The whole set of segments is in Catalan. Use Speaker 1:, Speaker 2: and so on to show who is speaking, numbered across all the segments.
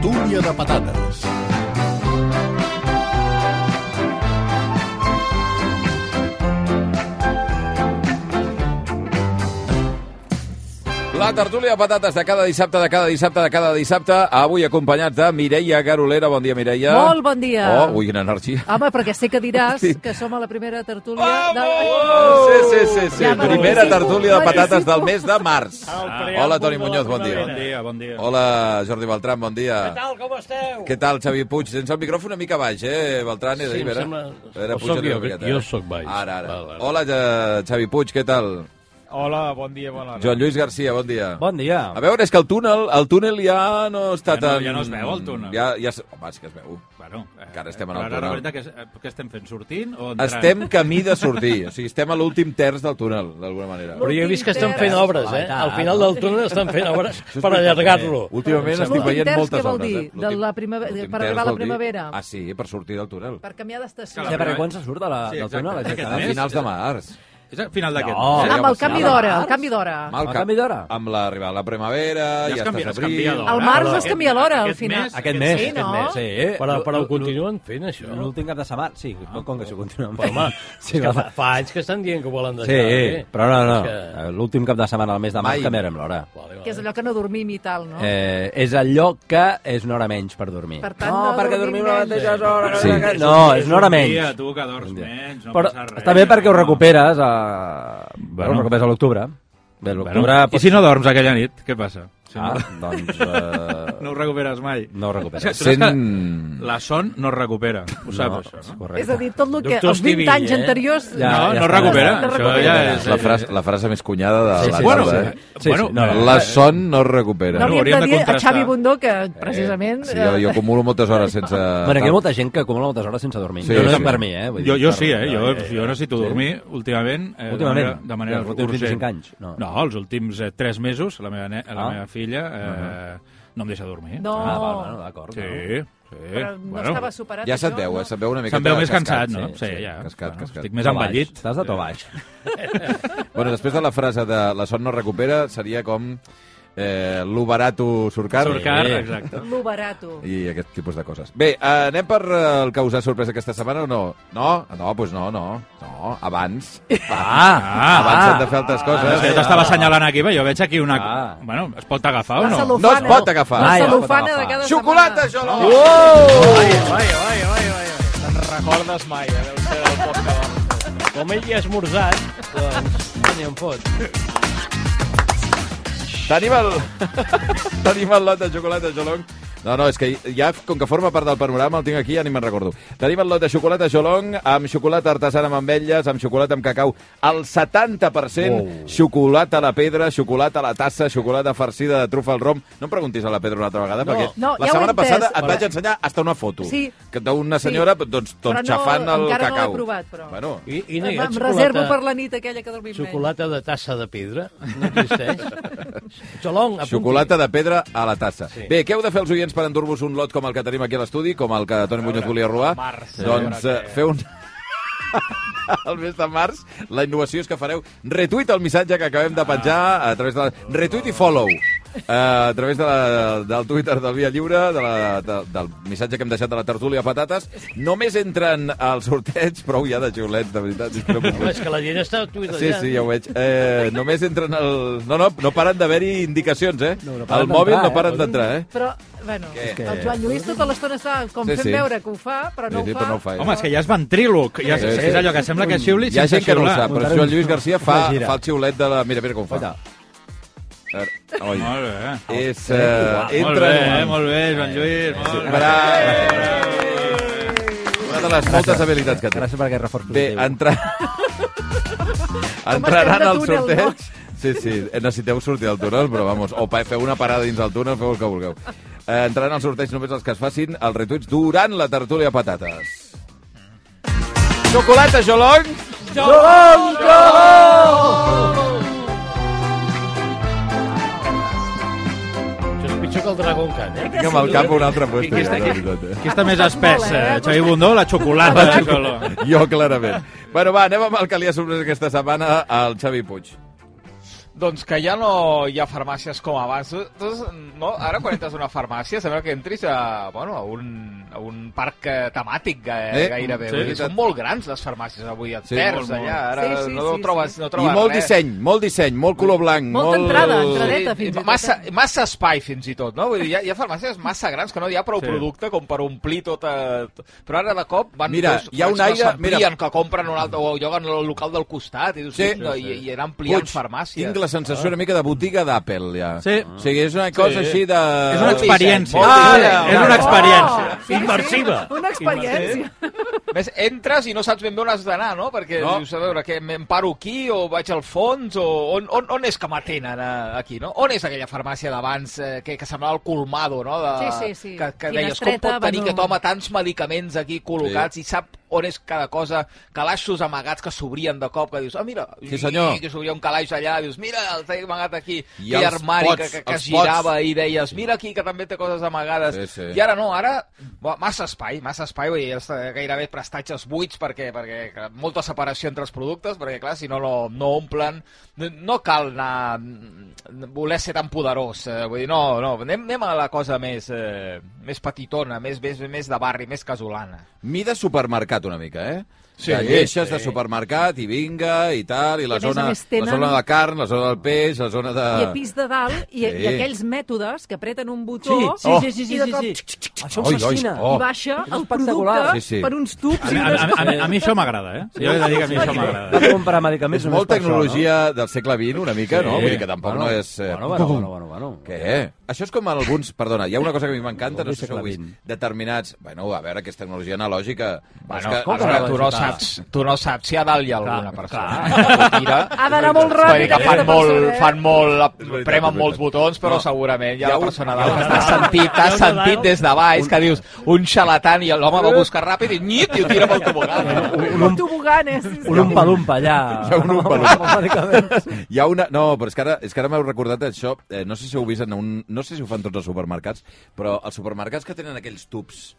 Speaker 1: tortilla de patates.
Speaker 2: La tertúlia de patates de cada dissabte, de cada dissabte, de cada dissabte, avui acompanyats de Mireia Garolera. Bon dia, Mireia.
Speaker 3: Molt bon dia.
Speaker 2: Oh, ui, quina energia.
Speaker 3: Home, perquè sé que diràs
Speaker 2: Sí.
Speaker 3: que som a la primera tertúlia de...
Speaker 2: Oh, sí, sí, sí, sí.
Speaker 3: Ja
Speaker 2: Primera
Speaker 3: participo,
Speaker 2: tertúlia de patates
Speaker 3: participo.
Speaker 2: del mes de març.
Speaker 4: Ah, El preàmbul
Speaker 2: Hola, Toni
Speaker 4: de la
Speaker 2: Muñoz, bon dia.
Speaker 4: primavera. Bon dia, bon dia.
Speaker 2: Hola, Jordi Beltrán, bon dia.
Speaker 4: Què tal, com esteu?
Speaker 2: Què tal, Xavi Puig? Tens el micròfon una mica baix, eh, Beltrán?
Speaker 4: Sí, em
Speaker 2: vera?
Speaker 4: sembla-
Speaker 2: Vera,
Speaker 4: O sóc
Speaker 2: puja-li
Speaker 4: jo,
Speaker 2: una miqueta,
Speaker 4: que jo
Speaker 2: eh?
Speaker 4: sóc baix.
Speaker 2: Ara, ara.
Speaker 4: Val, ara.
Speaker 2: Hola, ja- Xavi Puig, què tal?
Speaker 5: Hola, bon dia, bona hora.
Speaker 2: Joan Lluís Garcia, bon dia.
Speaker 6: Bon dia.
Speaker 2: A veure, és que el túnel, el túnel ja no està
Speaker 4: Ja no-
Speaker 2: tan...
Speaker 4: ja no es veu, el túnel.
Speaker 2: Ja, ja... es- Home, és que es veu.
Speaker 4: Bueno, eh,
Speaker 2: Encara estem en
Speaker 4: però
Speaker 2: el
Speaker 4: Ara,
Speaker 2: túnel.
Speaker 4: la veritat, que, es- eh, què estem fent? Sortint o entrant?
Speaker 2: Estem camí de sortir. O sigui, estem a l'últim terç del túnel, d'alguna manera.
Speaker 7: Però jo he vist que estan fent obres, eh? Al final del túnel estan fent obres
Speaker 2: Ah, Això és
Speaker 7: per
Speaker 2: veritat,
Speaker 7: allargar-lo.
Speaker 2: eh? Últimament estic
Speaker 3: L'últim
Speaker 2: veient
Speaker 3: terç
Speaker 2: moltes
Speaker 3: què vol
Speaker 2: obres.
Speaker 3: dir?
Speaker 2: eh?
Speaker 3: De
Speaker 2: L'últim-
Speaker 3: la primavera-
Speaker 2: l'últim
Speaker 3: per
Speaker 2: terç
Speaker 3: arribar a la
Speaker 2: vol dir-
Speaker 3: primavera.
Speaker 2: Ah, sí, per sortir del túnel.
Speaker 3: Per canviar d'estació.
Speaker 4: Clar,
Speaker 6: Ja, perquè quan se surt de la,
Speaker 4: Sí,
Speaker 6: del
Speaker 4: exacte.
Speaker 6: túnel?
Speaker 4: Aquest
Speaker 2: A
Speaker 4: mes.
Speaker 6: Exacte.
Speaker 2: finals de març.
Speaker 4: És a final d'aquest
Speaker 6: No.
Speaker 4: mes, eh?
Speaker 2: Ah,
Speaker 3: Amb el canvi
Speaker 2: sí,
Speaker 3: d'hora, el canvi d'hora.
Speaker 2: Amb el
Speaker 6: canvi d'hora?
Speaker 2: Amb l'arribada de la primavera, ja,
Speaker 4: es
Speaker 2: ja
Speaker 4: canvia-
Speaker 2: estàs
Speaker 4: es canvia
Speaker 2: abril...
Speaker 4: d'hora.
Speaker 3: Al març
Speaker 4: Però
Speaker 3: es canvia l'hora, al
Speaker 4: aquest
Speaker 3: final.
Speaker 4: mes-
Speaker 6: Aquest mes,
Speaker 3: Sí,
Speaker 6: aquest
Speaker 3: no?
Speaker 6: mes, sí.
Speaker 7: Però, però ho
Speaker 6: L'ú- l'ú-
Speaker 7: continuen fent, això?
Speaker 6: L'últim cap de setmana, sí, ah, com que s'ho continuen
Speaker 7: Però,
Speaker 6: fent.
Speaker 7: home,
Speaker 6: sí,
Speaker 7: és que fa, fa anys que estan dient que ho volen
Speaker 6: sí,
Speaker 7: deixar. eh?
Speaker 6: però no, no,
Speaker 7: És
Speaker 6: no. l'últim cap de setmana del mes de
Speaker 2: Mai.
Speaker 6: març canviarem l'hora.
Speaker 7: Vale, vale.
Speaker 3: Que és allò que no dormim i tal, no?
Speaker 6: Eh, és el lloc que és una hora menys per dormir.
Speaker 3: Per tant,
Speaker 6: no,
Speaker 3: no
Speaker 6: perquè
Speaker 3: dormim
Speaker 6: dormim la
Speaker 3: menys.
Speaker 6: mateixa hora.
Speaker 2: Sí.
Speaker 6: que- No, és una hora
Speaker 4: un dia,
Speaker 6: menys.
Speaker 4: Tu que dors menys, no
Speaker 6: però
Speaker 4: passa res.
Speaker 6: està bé perquè ho
Speaker 4: no?
Speaker 6: recuperes a, bueno. ho recuperes a l'octubre. Bé, l'octubre...
Speaker 4: Bueno, I
Speaker 6: pots-
Speaker 4: si no dorms aquella nit, què passa? Si
Speaker 6: Ah, doncs...
Speaker 4: no,
Speaker 6: Eh,
Speaker 4: no ho recuperes mai.
Speaker 6: no ho recuperes.
Speaker 4: És que tu saps
Speaker 2: Sent-
Speaker 4: que La son no es recupera, ho saps, això, no?
Speaker 3: És a dir, tot el que
Speaker 7: Doctor
Speaker 3: els 20
Speaker 7: Estivilla,
Speaker 3: anys
Speaker 7: eh?
Speaker 3: anteriors...
Speaker 6: Ja,
Speaker 4: no,
Speaker 6: ja
Speaker 4: no
Speaker 6: està.
Speaker 4: recupera.
Speaker 3: No
Speaker 4: Això
Speaker 3: recupera.
Speaker 4: ja és...
Speaker 2: La frase, la frase més cunyada de
Speaker 6: Sí,
Speaker 2: la
Speaker 6: sí,
Speaker 4: Bueno,
Speaker 2: tarda,
Speaker 4: sí.
Speaker 2: eh?
Speaker 6: Sí,
Speaker 4: bueno,
Speaker 6: sí, no,
Speaker 4: la-
Speaker 2: La son no es recupera.
Speaker 3: No li hem
Speaker 4: hauríem
Speaker 3: de
Speaker 4: de
Speaker 3: dir a
Speaker 4: contrastar.
Speaker 3: Xavi Bundó que, precisament...
Speaker 2: Eh,
Speaker 3: eh,
Speaker 2: Sí, jo, jo acumulo moltes hores sense...
Speaker 6: Bueno, aquí hi ha molta gent que acumula moltes hores sense dormir.
Speaker 2: Sí,
Speaker 6: Sí, no
Speaker 2: sí.
Speaker 6: és per mi, eh? Vull dir,
Speaker 4: Jo, jo
Speaker 6: per-
Speaker 4: sí, eh? Jo, jo necessito dormir últimament, eh,
Speaker 6: Últimament?
Speaker 4: de manera, de manera
Speaker 6: Els últims 25 anys?
Speaker 4: No.
Speaker 6: No.
Speaker 4: no, els últims eh, 3 mesos, la meva, ne la
Speaker 6: Ah.
Speaker 4: meva filla
Speaker 2: Ah.
Speaker 4: eh, no em deixa dormir.
Speaker 3: No.
Speaker 6: Ah, val, bueno, d'acord.
Speaker 4: Sí,
Speaker 6: no.
Speaker 4: sí.
Speaker 3: Però no estava superat,
Speaker 2: Ja se't
Speaker 3: això,
Speaker 2: veu,
Speaker 3: no?
Speaker 2: eh? Se't veu una mica
Speaker 4: Se'm veu més cansat, no?
Speaker 2: Sí, sí,
Speaker 4: ja.
Speaker 2: Cascat,
Speaker 4: Bueno,
Speaker 2: cascat.
Speaker 4: Estic més
Speaker 6: To
Speaker 4: envellit.
Speaker 6: baix. Estàs de to baix.
Speaker 2: Bueno, després de la frase de la son no recupera, seria com eh, lo barato surcar.
Speaker 4: Surcar,
Speaker 2: Sí.
Speaker 4: exacte.
Speaker 3: Lo barato.
Speaker 2: I aquest tipus de coses. Bé, eh, anem per eh, el que us ha sorprès aquesta setmana o no? No? No, doncs pues no, no. No, abans.
Speaker 4: Ah,
Speaker 2: abans hem de fer altres
Speaker 4: Ah,
Speaker 2: coses.
Speaker 4: jo t'estava assenyalant aquí, va, jo veig aquí una...
Speaker 6: Ah.
Speaker 4: Bueno, es pot agafar o
Speaker 3: La
Speaker 4: no?
Speaker 3: cel·lofana.
Speaker 2: No es pot agafar.
Speaker 3: La
Speaker 6: Ai, es pot
Speaker 3: cel·lofana de
Speaker 6: agafar.
Speaker 3: cada
Speaker 2: Xocolata,
Speaker 3: setmana.
Speaker 2: jo!
Speaker 5: Vaja, vaja, vaja, vaja. Te'n recordes mai, eh? Deu ser el poc que vam fer.
Speaker 7: Com ell hi ha esmorzat, doncs no n'hi en fot.
Speaker 2: Tenim el... Tenim el lot de xocolata Jolong. No, no, és que ja, com que forma part del panorama, el tinc aquí, ja ni me'n recordo. Tenim el lot de xocolata Jolong, amb xocolata artesana amb ametlles, amb xocolata amb cacau, al 70%, oh. xocolata a la pedra, xocolata a la tassa, xocolata farcida de trufa al rom. No em preguntis a la pedra una altra vegada,
Speaker 3: No,
Speaker 2: perquè
Speaker 3: no,
Speaker 2: la
Speaker 3: ja ho he
Speaker 2: setmana
Speaker 3: entès.
Speaker 2: passada et
Speaker 3: Però-
Speaker 2: vaig ensenyar hasta una foto
Speaker 3: Sí.
Speaker 2: que d'una senyora
Speaker 3: Sí.
Speaker 2: doncs,
Speaker 3: Però
Speaker 2: doncs
Speaker 3: no,
Speaker 2: xafant el
Speaker 3: encara no l'he
Speaker 2: cacau.
Speaker 3: provat, però.
Speaker 2: Bueno,
Speaker 7: I, i no
Speaker 3: Em
Speaker 7: hi ha
Speaker 3: em
Speaker 7: xocolata-
Speaker 3: reservo per la nit aquella que dormim menys.
Speaker 7: Xocolata de tassa de pedra? No existeix? Xolong, apunti.
Speaker 2: Xocolata de pedra a la tassa. Sí.
Speaker 7: Sí.
Speaker 2: Bé, què heu de fer els oients per endur-vos un lot com el que tenim aquí a l'estudi, com el que Toni Muñoz volia robar?
Speaker 5: març,
Speaker 2: doncs
Speaker 5: a
Speaker 2: eh,
Speaker 5: veure què-
Speaker 2: feu un... el mes de març, la innovació és que fareu retuit el missatge que
Speaker 5: Ah.
Speaker 2: acabem de penjar a través de la... Retuit i follow. Uh, a través de la, del Twitter del Via Lliure, de la, de, del missatge que hem deixat de la tertúlia patates, només entren al sorteig, prou ja de xiulets, de veritat. És que no puc
Speaker 7: Home,
Speaker 2: més.
Speaker 7: és que la gent està tuitejant.
Speaker 2: Sí, sí, ja ho veig. Eh, només entren el... No, no, no paren d'haver-hi indicacions, eh?
Speaker 6: No, no paren
Speaker 2: el mòbil
Speaker 6: d'entrar,
Speaker 2: no paren
Speaker 6: eh?
Speaker 2: d'entrar, eh?
Speaker 3: Però, bueno,
Speaker 2: Què?
Speaker 3: el Joan Lluís tota l'estona està com
Speaker 2: Sí,
Speaker 3: fent
Speaker 2: sí.
Speaker 3: veure que ho fa, però no
Speaker 2: Sí, sí,
Speaker 3: ho fa.
Speaker 2: però no ho fa, eh?
Speaker 4: Home, és que ja és ventríloc. Ja,
Speaker 2: Sí,
Speaker 4: és,
Speaker 2: sí.
Speaker 4: és allò que sembla que xiuli
Speaker 2: Hi ha gent que no ho sap, però
Speaker 6: Muntar-ho.
Speaker 2: Joan Lluís Garcia fa,
Speaker 6: Una gira.
Speaker 2: fa el xiulet de la... Mira, mira com ho fa.
Speaker 6: Escolta,
Speaker 2: A veure, Oi.
Speaker 4: Molt bé.
Speaker 2: És... Eh,
Speaker 4: Molt
Speaker 2: entra...
Speaker 4: bé, eh? molt bé, Joan Lluís. Molt bé.
Speaker 2: Una de les moltes habilitats que té.
Speaker 6: gràcies per aquest reforç
Speaker 2: Bé,
Speaker 6: positiu.
Speaker 2: entra... Entraran
Speaker 3: estem de
Speaker 2: al
Speaker 3: túnel,
Speaker 2: sorteig. Sí, sí, eh, necessiteu sortir del túnel, però vamos, o pa- feu una parada dins del túnel, feu el que vulgueu. Eh, entraran al sorteig només els que es facin els retuits durant la tertúlia patates. Xocolata, Jolong!
Speaker 7: Això és pitjor que el Dragon Khan, eh?
Speaker 2: Tinc amb el cap a un altre puesto. ja, de veritat, eh?
Speaker 4: Qui està més espessa,
Speaker 3: molt, eh?
Speaker 4: Xavi Bundó o la xocolata? eh, de color?
Speaker 2: Jo, clarament. Bueno, va, anem amb el que li ha sorprès aquesta setmana al Xavi Puig.
Speaker 5: Doncs que ja no hi ha farmàcies com abans. Doncs, no? Ara quan entres a una farmàcia sembla que entris a, bueno, a, un, a un parc eh, temàtic ga,
Speaker 2: Eh,
Speaker 5: eh, gairebé.
Speaker 2: sí,
Speaker 5: Sí,
Speaker 2: veritat.
Speaker 5: Són molt grans les farmàcies avui, et
Speaker 2: Sí,
Speaker 5: sí,
Speaker 2: molt,
Speaker 5: perds
Speaker 2: molt.
Speaker 5: allà. Ara
Speaker 3: Sí, sí,
Speaker 5: no,
Speaker 3: sí,
Speaker 5: trobes, no
Speaker 2: I
Speaker 5: trobes
Speaker 2: molt
Speaker 5: res.
Speaker 2: disseny, molt disseny, molt color blanc.
Speaker 3: Molta
Speaker 2: molt...
Speaker 3: entrada, entradeta,
Speaker 5: Sí,
Speaker 3: fins i tot.
Speaker 5: massa, massa espai, fins i tot, no? Vull dir, hi ha, hi ha farmàcies massa grans que no hi ha prou
Speaker 4: Sí.
Speaker 5: sí. producte com per omplir tot... Eh, però ara de cop van...
Speaker 2: Mira,
Speaker 5: dos,
Speaker 2: hi ha un
Speaker 5: que
Speaker 2: aire-
Speaker 5: s'amplien,
Speaker 2: mira.
Speaker 5: que compren un altre, o lloguen el local del costat i, dius,
Speaker 2: Sí.
Speaker 5: sí, no, i, i anar ampliant
Speaker 2: Puig,
Speaker 5: farmàcies.
Speaker 2: tinc la sensació una mica de botiga d'Apple, ja.
Speaker 4: Sí.
Speaker 2: O sigui, és una cosa
Speaker 4: Sí.
Speaker 2: així de...
Speaker 4: És una experiència.
Speaker 5: Molt
Speaker 4: Ah,
Speaker 5: disseny.
Speaker 4: és una
Speaker 2: Ah.
Speaker 4: experiència.
Speaker 3: sí, sí,
Speaker 7: Immersiva.
Speaker 3: Una experiència.
Speaker 5: Més, entres i no saps ben bé on has d'anar, no? Perquè
Speaker 2: No.
Speaker 5: no. dius, a veure, que m'emparo aquí o vaig al fons o on, on, on és que m'atenen eh, aquí, no? On és aquella farmàcia d'abans eh, que, que semblava el colmado, no? De,
Speaker 3: Sí, sí, sí.
Speaker 5: Que, que deies, com
Speaker 3: Finestreta,
Speaker 5: pot tenir
Speaker 3: bueno.
Speaker 5: aquest home tants medicaments aquí col·locats sí. i sap on és cada cosa, calaixos amagats que s'obrien de cop, que dius, ah, mira,
Speaker 2: Sí, senyor.
Speaker 5: i que s'obria un calaix allà, dius, mira, el té amagat aquí,
Speaker 2: I
Speaker 5: I aquell
Speaker 2: els
Speaker 5: armari
Speaker 2: pots,
Speaker 5: pots, que, que, que
Speaker 2: els
Speaker 5: es girava i deies, mira aquí que també té coses amagades,
Speaker 2: Sí, sí.
Speaker 5: i ara no, ara bo, massa espai, massa espai, vull dir, els, eh, gairebé prestatges buits perquè, perquè clar, molta separació entre els productes, perquè clar, si no, no, no omplen, no- no cal anar, mm, voler ser tan poderós, eh, vull dir, no, no, anem, anem a la cosa més, eh, més petitona, més, més, més de barri, més casolana.
Speaker 2: Mida supermercat una mica, eh? Sí,
Speaker 5: Sí,
Speaker 2: de lleixes
Speaker 5: sí.
Speaker 2: de supermercat i vinga i tal, i la
Speaker 3: a més a
Speaker 2: zona,
Speaker 3: més tenen-
Speaker 2: la zona de carn, la zona del peix, la zona de...
Speaker 3: I a pis de dalt, i,
Speaker 2: Ah. Sí.
Speaker 3: i aquells mètodes que apreten un
Speaker 6: Oh.
Speaker 3: botó
Speaker 7: Sí, sí, sí, sí,
Speaker 3: i de
Speaker 7: sí,
Speaker 3: cop
Speaker 7: sí.
Speaker 3: tx, tx, tx,
Speaker 7: Això
Speaker 2: Oi, oi,
Speaker 7: em fascina.
Speaker 2: oh.
Speaker 3: i baixa
Speaker 7: És
Speaker 3: el
Speaker 7: espectacular.
Speaker 3: producte
Speaker 2: Sí, sí.
Speaker 3: per uns tubs
Speaker 4: A,
Speaker 3: i
Speaker 4: mi- a,
Speaker 3: unes...
Speaker 4: a, a, a mi això m'agrada, eh? Jo he de dir que a mi això m'agrada.
Speaker 7: Has de comprar medicaments
Speaker 2: És
Speaker 7: només
Speaker 2: molt
Speaker 7: per això,
Speaker 2: tecnologia del segle XX, una mica, no? Vull dir que tampoc
Speaker 7: Bueno,
Speaker 2: no és... Eh...
Speaker 7: Bueno, bueno, bueno, bueno, bueno.
Speaker 2: Què? Això és com en alguns... Perdona, hi ha una cosa que a mi m'encanta, no
Speaker 7: Algun
Speaker 2: sé si ho heu
Speaker 7: segle
Speaker 2: vist,
Speaker 7: XX.
Speaker 2: determinats... Bueno, a veure, que és tecnologia analògica... Bueno, que...
Speaker 7: com que
Speaker 5: Ara,
Speaker 7: no
Speaker 5: tu,
Speaker 7: vaig
Speaker 5: no
Speaker 7: votar?
Speaker 5: saps, tu no saps si a dalt hi ha alguna
Speaker 7: Clar,
Speaker 5: persona. Clar.
Speaker 3: Ha d'anar molt ràpid
Speaker 5: Que fan
Speaker 3: aquesta
Speaker 5: molt,
Speaker 3: persona, eh?
Speaker 5: fan molt,
Speaker 2: veritat, és
Speaker 5: premen
Speaker 2: veritat.
Speaker 5: molts botons, però
Speaker 2: No.
Speaker 5: segurament hi ha
Speaker 2: Hi ha
Speaker 5: la
Speaker 2: un-
Speaker 5: persona
Speaker 2: hi ha
Speaker 5: dalt
Speaker 2: un
Speaker 5: que t'ha sentit, t'ha
Speaker 7: Hi ha un
Speaker 5: sentit
Speaker 7: dalt.
Speaker 5: des de baix, que dius, un xalatan, i l'home
Speaker 2: Eh?
Speaker 5: va buscar ràpid i nyit, i ho tira pel tobogán.
Speaker 3: Un tobogán, eh? Sí, sí.
Speaker 7: Un umpa-lumpa allà.
Speaker 2: Hi ha un umpa-lumpa.
Speaker 7: Amb medicaments.
Speaker 2: Hi ha una... No, però és que ara, és que ara m'heu recordat això. Eh, no sé si ho heu vist en un... No sé si ho fan tots els supermercats, però els supermercats que tenen aquells tubs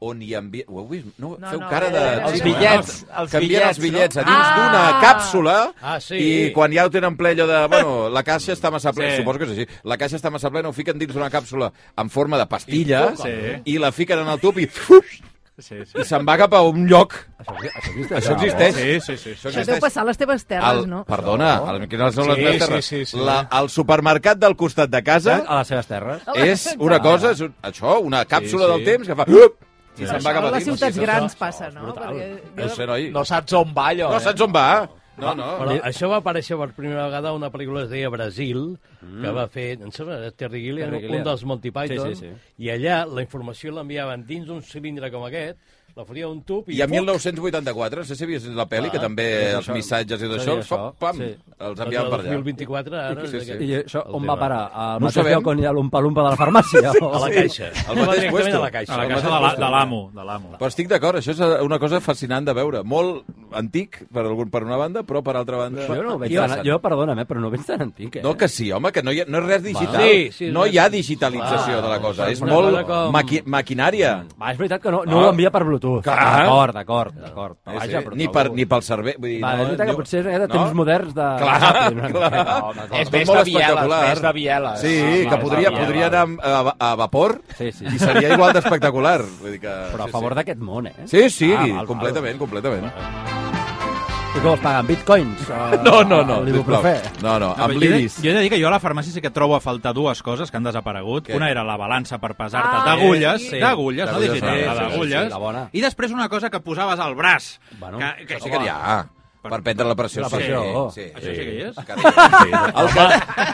Speaker 2: on hi envia... Ho heu vist? No,
Speaker 3: No,
Speaker 2: feu
Speaker 3: no,
Speaker 2: cara de...
Speaker 3: eh, eh, Els eh,
Speaker 5: bitllets,
Speaker 2: No,
Speaker 5: els
Speaker 2: Canvien els
Speaker 5: bitllets,
Speaker 2: bitllets
Speaker 5: no?
Speaker 2: a dins
Speaker 3: Ah!
Speaker 2: d'una càpsula
Speaker 7: Ah, sí.
Speaker 2: i quan ja ho tenen ple allò de... Bueno, la caixa està massa plena,
Speaker 4: Sí.
Speaker 2: suposo que és així. La caixa està massa plena, ho fiquen dins d'una càpsula en forma de pastilla
Speaker 4: Sí.
Speaker 2: i la fiquen en el tub i... fuix,
Speaker 4: Sí, sí.
Speaker 2: I se'n va cap a un lloc.
Speaker 7: Això, això existe,
Speaker 2: Això existeix.
Speaker 4: Sí, sí, sí.
Speaker 2: Això
Speaker 3: Això deu
Speaker 2: existeix.
Speaker 3: passar a les teves terres,
Speaker 2: El,
Speaker 3: no?
Speaker 2: Perdona, el, quines són les
Speaker 5: Sí,
Speaker 2: meves
Speaker 5: sí,
Speaker 2: terres?
Speaker 5: sí, sí.
Speaker 2: La, el supermercat del costat de casa
Speaker 7: A les seves terres.
Speaker 2: és una cosa, és un, això, una càpsula
Speaker 4: sí.
Speaker 2: del temps que fa... Up, I se'n va
Speaker 3: Això
Speaker 2: cap
Speaker 3: a
Speaker 2: a
Speaker 3: les
Speaker 2: dins.
Speaker 3: ciutats
Speaker 2: Sí, sí,
Speaker 3: grans
Speaker 7: això-
Speaker 3: passa,
Speaker 7: això és
Speaker 3: no?
Speaker 7: brutal.
Speaker 2: sí. No sé, noi.
Speaker 5: No saps on va allò,
Speaker 2: No
Speaker 5: eh?
Speaker 2: saps on va. No, no.
Speaker 7: Li-
Speaker 2: no.
Speaker 7: Li-
Speaker 1: Però això va aparèixer per primera vegada a una pel·lícula que es deia Brasil, mm. que va fer, em sembla, era Terry Gilliam,
Speaker 7: Terry Gilliam.
Speaker 1: un dels Monty
Speaker 7: Sí,
Speaker 1: Python,
Speaker 7: sí, sí.
Speaker 1: i allà la informació l'enviaven dins d'un cilindre com aquest, la fotia un tub i...
Speaker 2: I a
Speaker 1: fuc,
Speaker 2: 1984, no sé si havies vist la pel·li,
Speaker 7: Ah,
Speaker 2: que també
Speaker 7: és
Speaker 2: els
Speaker 7: això.
Speaker 2: missatges i tot
Speaker 7: Sí,
Speaker 2: això,
Speaker 7: això.
Speaker 2: pop, pam,
Speaker 7: Sí.
Speaker 2: els enviaven per
Speaker 1: El
Speaker 2: allà.
Speaker 1: 2024, ara...
Speaker 2: Sí, sí, sí.
Speaker 7: I això
Speaker 1: El
Speaker 7: on
Speaker 1: tema.
Speaker 7: va parar? Al
Speaker 2: No ho
Speaker 7: mateix
Speaker 2: sabem.
Speaker 7: lloc on hi ha l'umpa-lumpa de la farmàcia? O...
Speaker 1: A la caixa.
Speaker 2: Al
Speaker 1: Va
Speaker 2: mateix
Speaker 1: directament
Speaker 2: puesto.
Speaker 1: a la caixa.
Speaker 4: A la casa de la- de l'amo, de l'amo.
Speaker 2: Però estic d'acord, això és una cosa fascinant de veure. Molt antic, per, algun, per una banda, però per altra banda...
Speaker 7: Jo no ho veig
Speaker 2: Què
Speaker 7: tan...
Speaker 2: passa?
Speaker 7: Jo, perdona'm, eh, però no ho veig tan antic, eh?
Speaker 2: No, que sí, home, que no hi ha, no és res digital.
Speaker 1: Sí, sí, és
Speaker 2: no
Speaker 1: res.
Speaker 2: hi ha digitalització de la cosa. És
Speaker 1: una
Speaker 2: molt
Speaker 1: cosa com-
Speaker 2: maqui maquinària.
Speaker 7: Va, és veritat que Mm. no, no ho envia per Bluetooth.
Speaker 2: Clar.
Speaker 7: D'acord, d'acord, d'acord.
Speaker 2: Sí,
Speaker 7: Vaja,
Speaker 2: sí.
Speaker 7: però
Speaker 2: Ni,
Speaker 7: trobo-
Speaker 2: per, ni pel cervell. Vull dir,
Speaker 7: Va, és veritat que
Speaker 2: jo-
Speaker 7: potser és de temps moderns de...
Speaker 2: Clar,
Speaker 7: ràpid, una
Speaker 2: clar.
Speaker 7: miqueta.
Speaker 2: No,
Speaker 7: d'acord.
Speaker 5: És
Speaker 2: Doncs
Speaker 5: més
Speaker 2: molt
Speaker 5: de bieles,
Speaker 2: espectacular.
Speaker 5: més de bieles.
Speaker 7: Ah,
Speaker 2: Sí, que
Speaker 7: va,
Speaker 2: podria,
Speaker 7: va, va,
Speaker 2: podria
Speaker 7: va.
Speaker 2: anar a, a vapor
Speaker 7: Sí, sí.
Speaker 2: i seria igual d'espectacular. Vull dir que...
Speaker 7: Però a
Speaker 2: sí,
Speaker 7: favor
Speaker 2: sí.
Speaker 7: d'aquest món, eh?
Speaker 2: Sí, sí,
Speaker 7: Ah, val,
Speaker 2: completament, completament.
Speaker 7: Val. I què vols pagar, amb bitcoins?
Speaker 6: eh,
Speaker 2: No, no, no, sisplau.
Speaker 7: L'ibuprofè?
Speaker 2: No, no,
Speaker 4: No,
Speaker 2: amb
Speaker 4: però jo he de-
Speaker 2: l'iris.
Speaker 4: Jo he de dir que jo a la farmàcia sí que trobo a faltar dues coses que han desaparegut.
Speaker 2: Què?
Speaker 4: Què? Una era la balança per pesar-te
Speaker 3: Ah,
Speaker 4: d'agulles,
Speaker 3: sí.
Speaker 4: sí. d'agulles, no
Speaker 2: D'agulles,
Speaker 4: digital,
Speaker 2: sí,
Speaker 4: la
Speaker 2: sí, sí,
Speaker 4: d'agulles.
Speaker 7: sí, la bona.
Speaker 4: I després una cosa que posaves al braç.
Speaker 7: Bueno,
Speaker 4: que, que,
Speaker 2: Això sí que n'hi ha. Per prendre la pressió,
Speaker 7: La pressió.
Speaker 2: sí. sí.
Speaker 4: Això sí que hi és?
Speaker 2: Carai, sí. El que,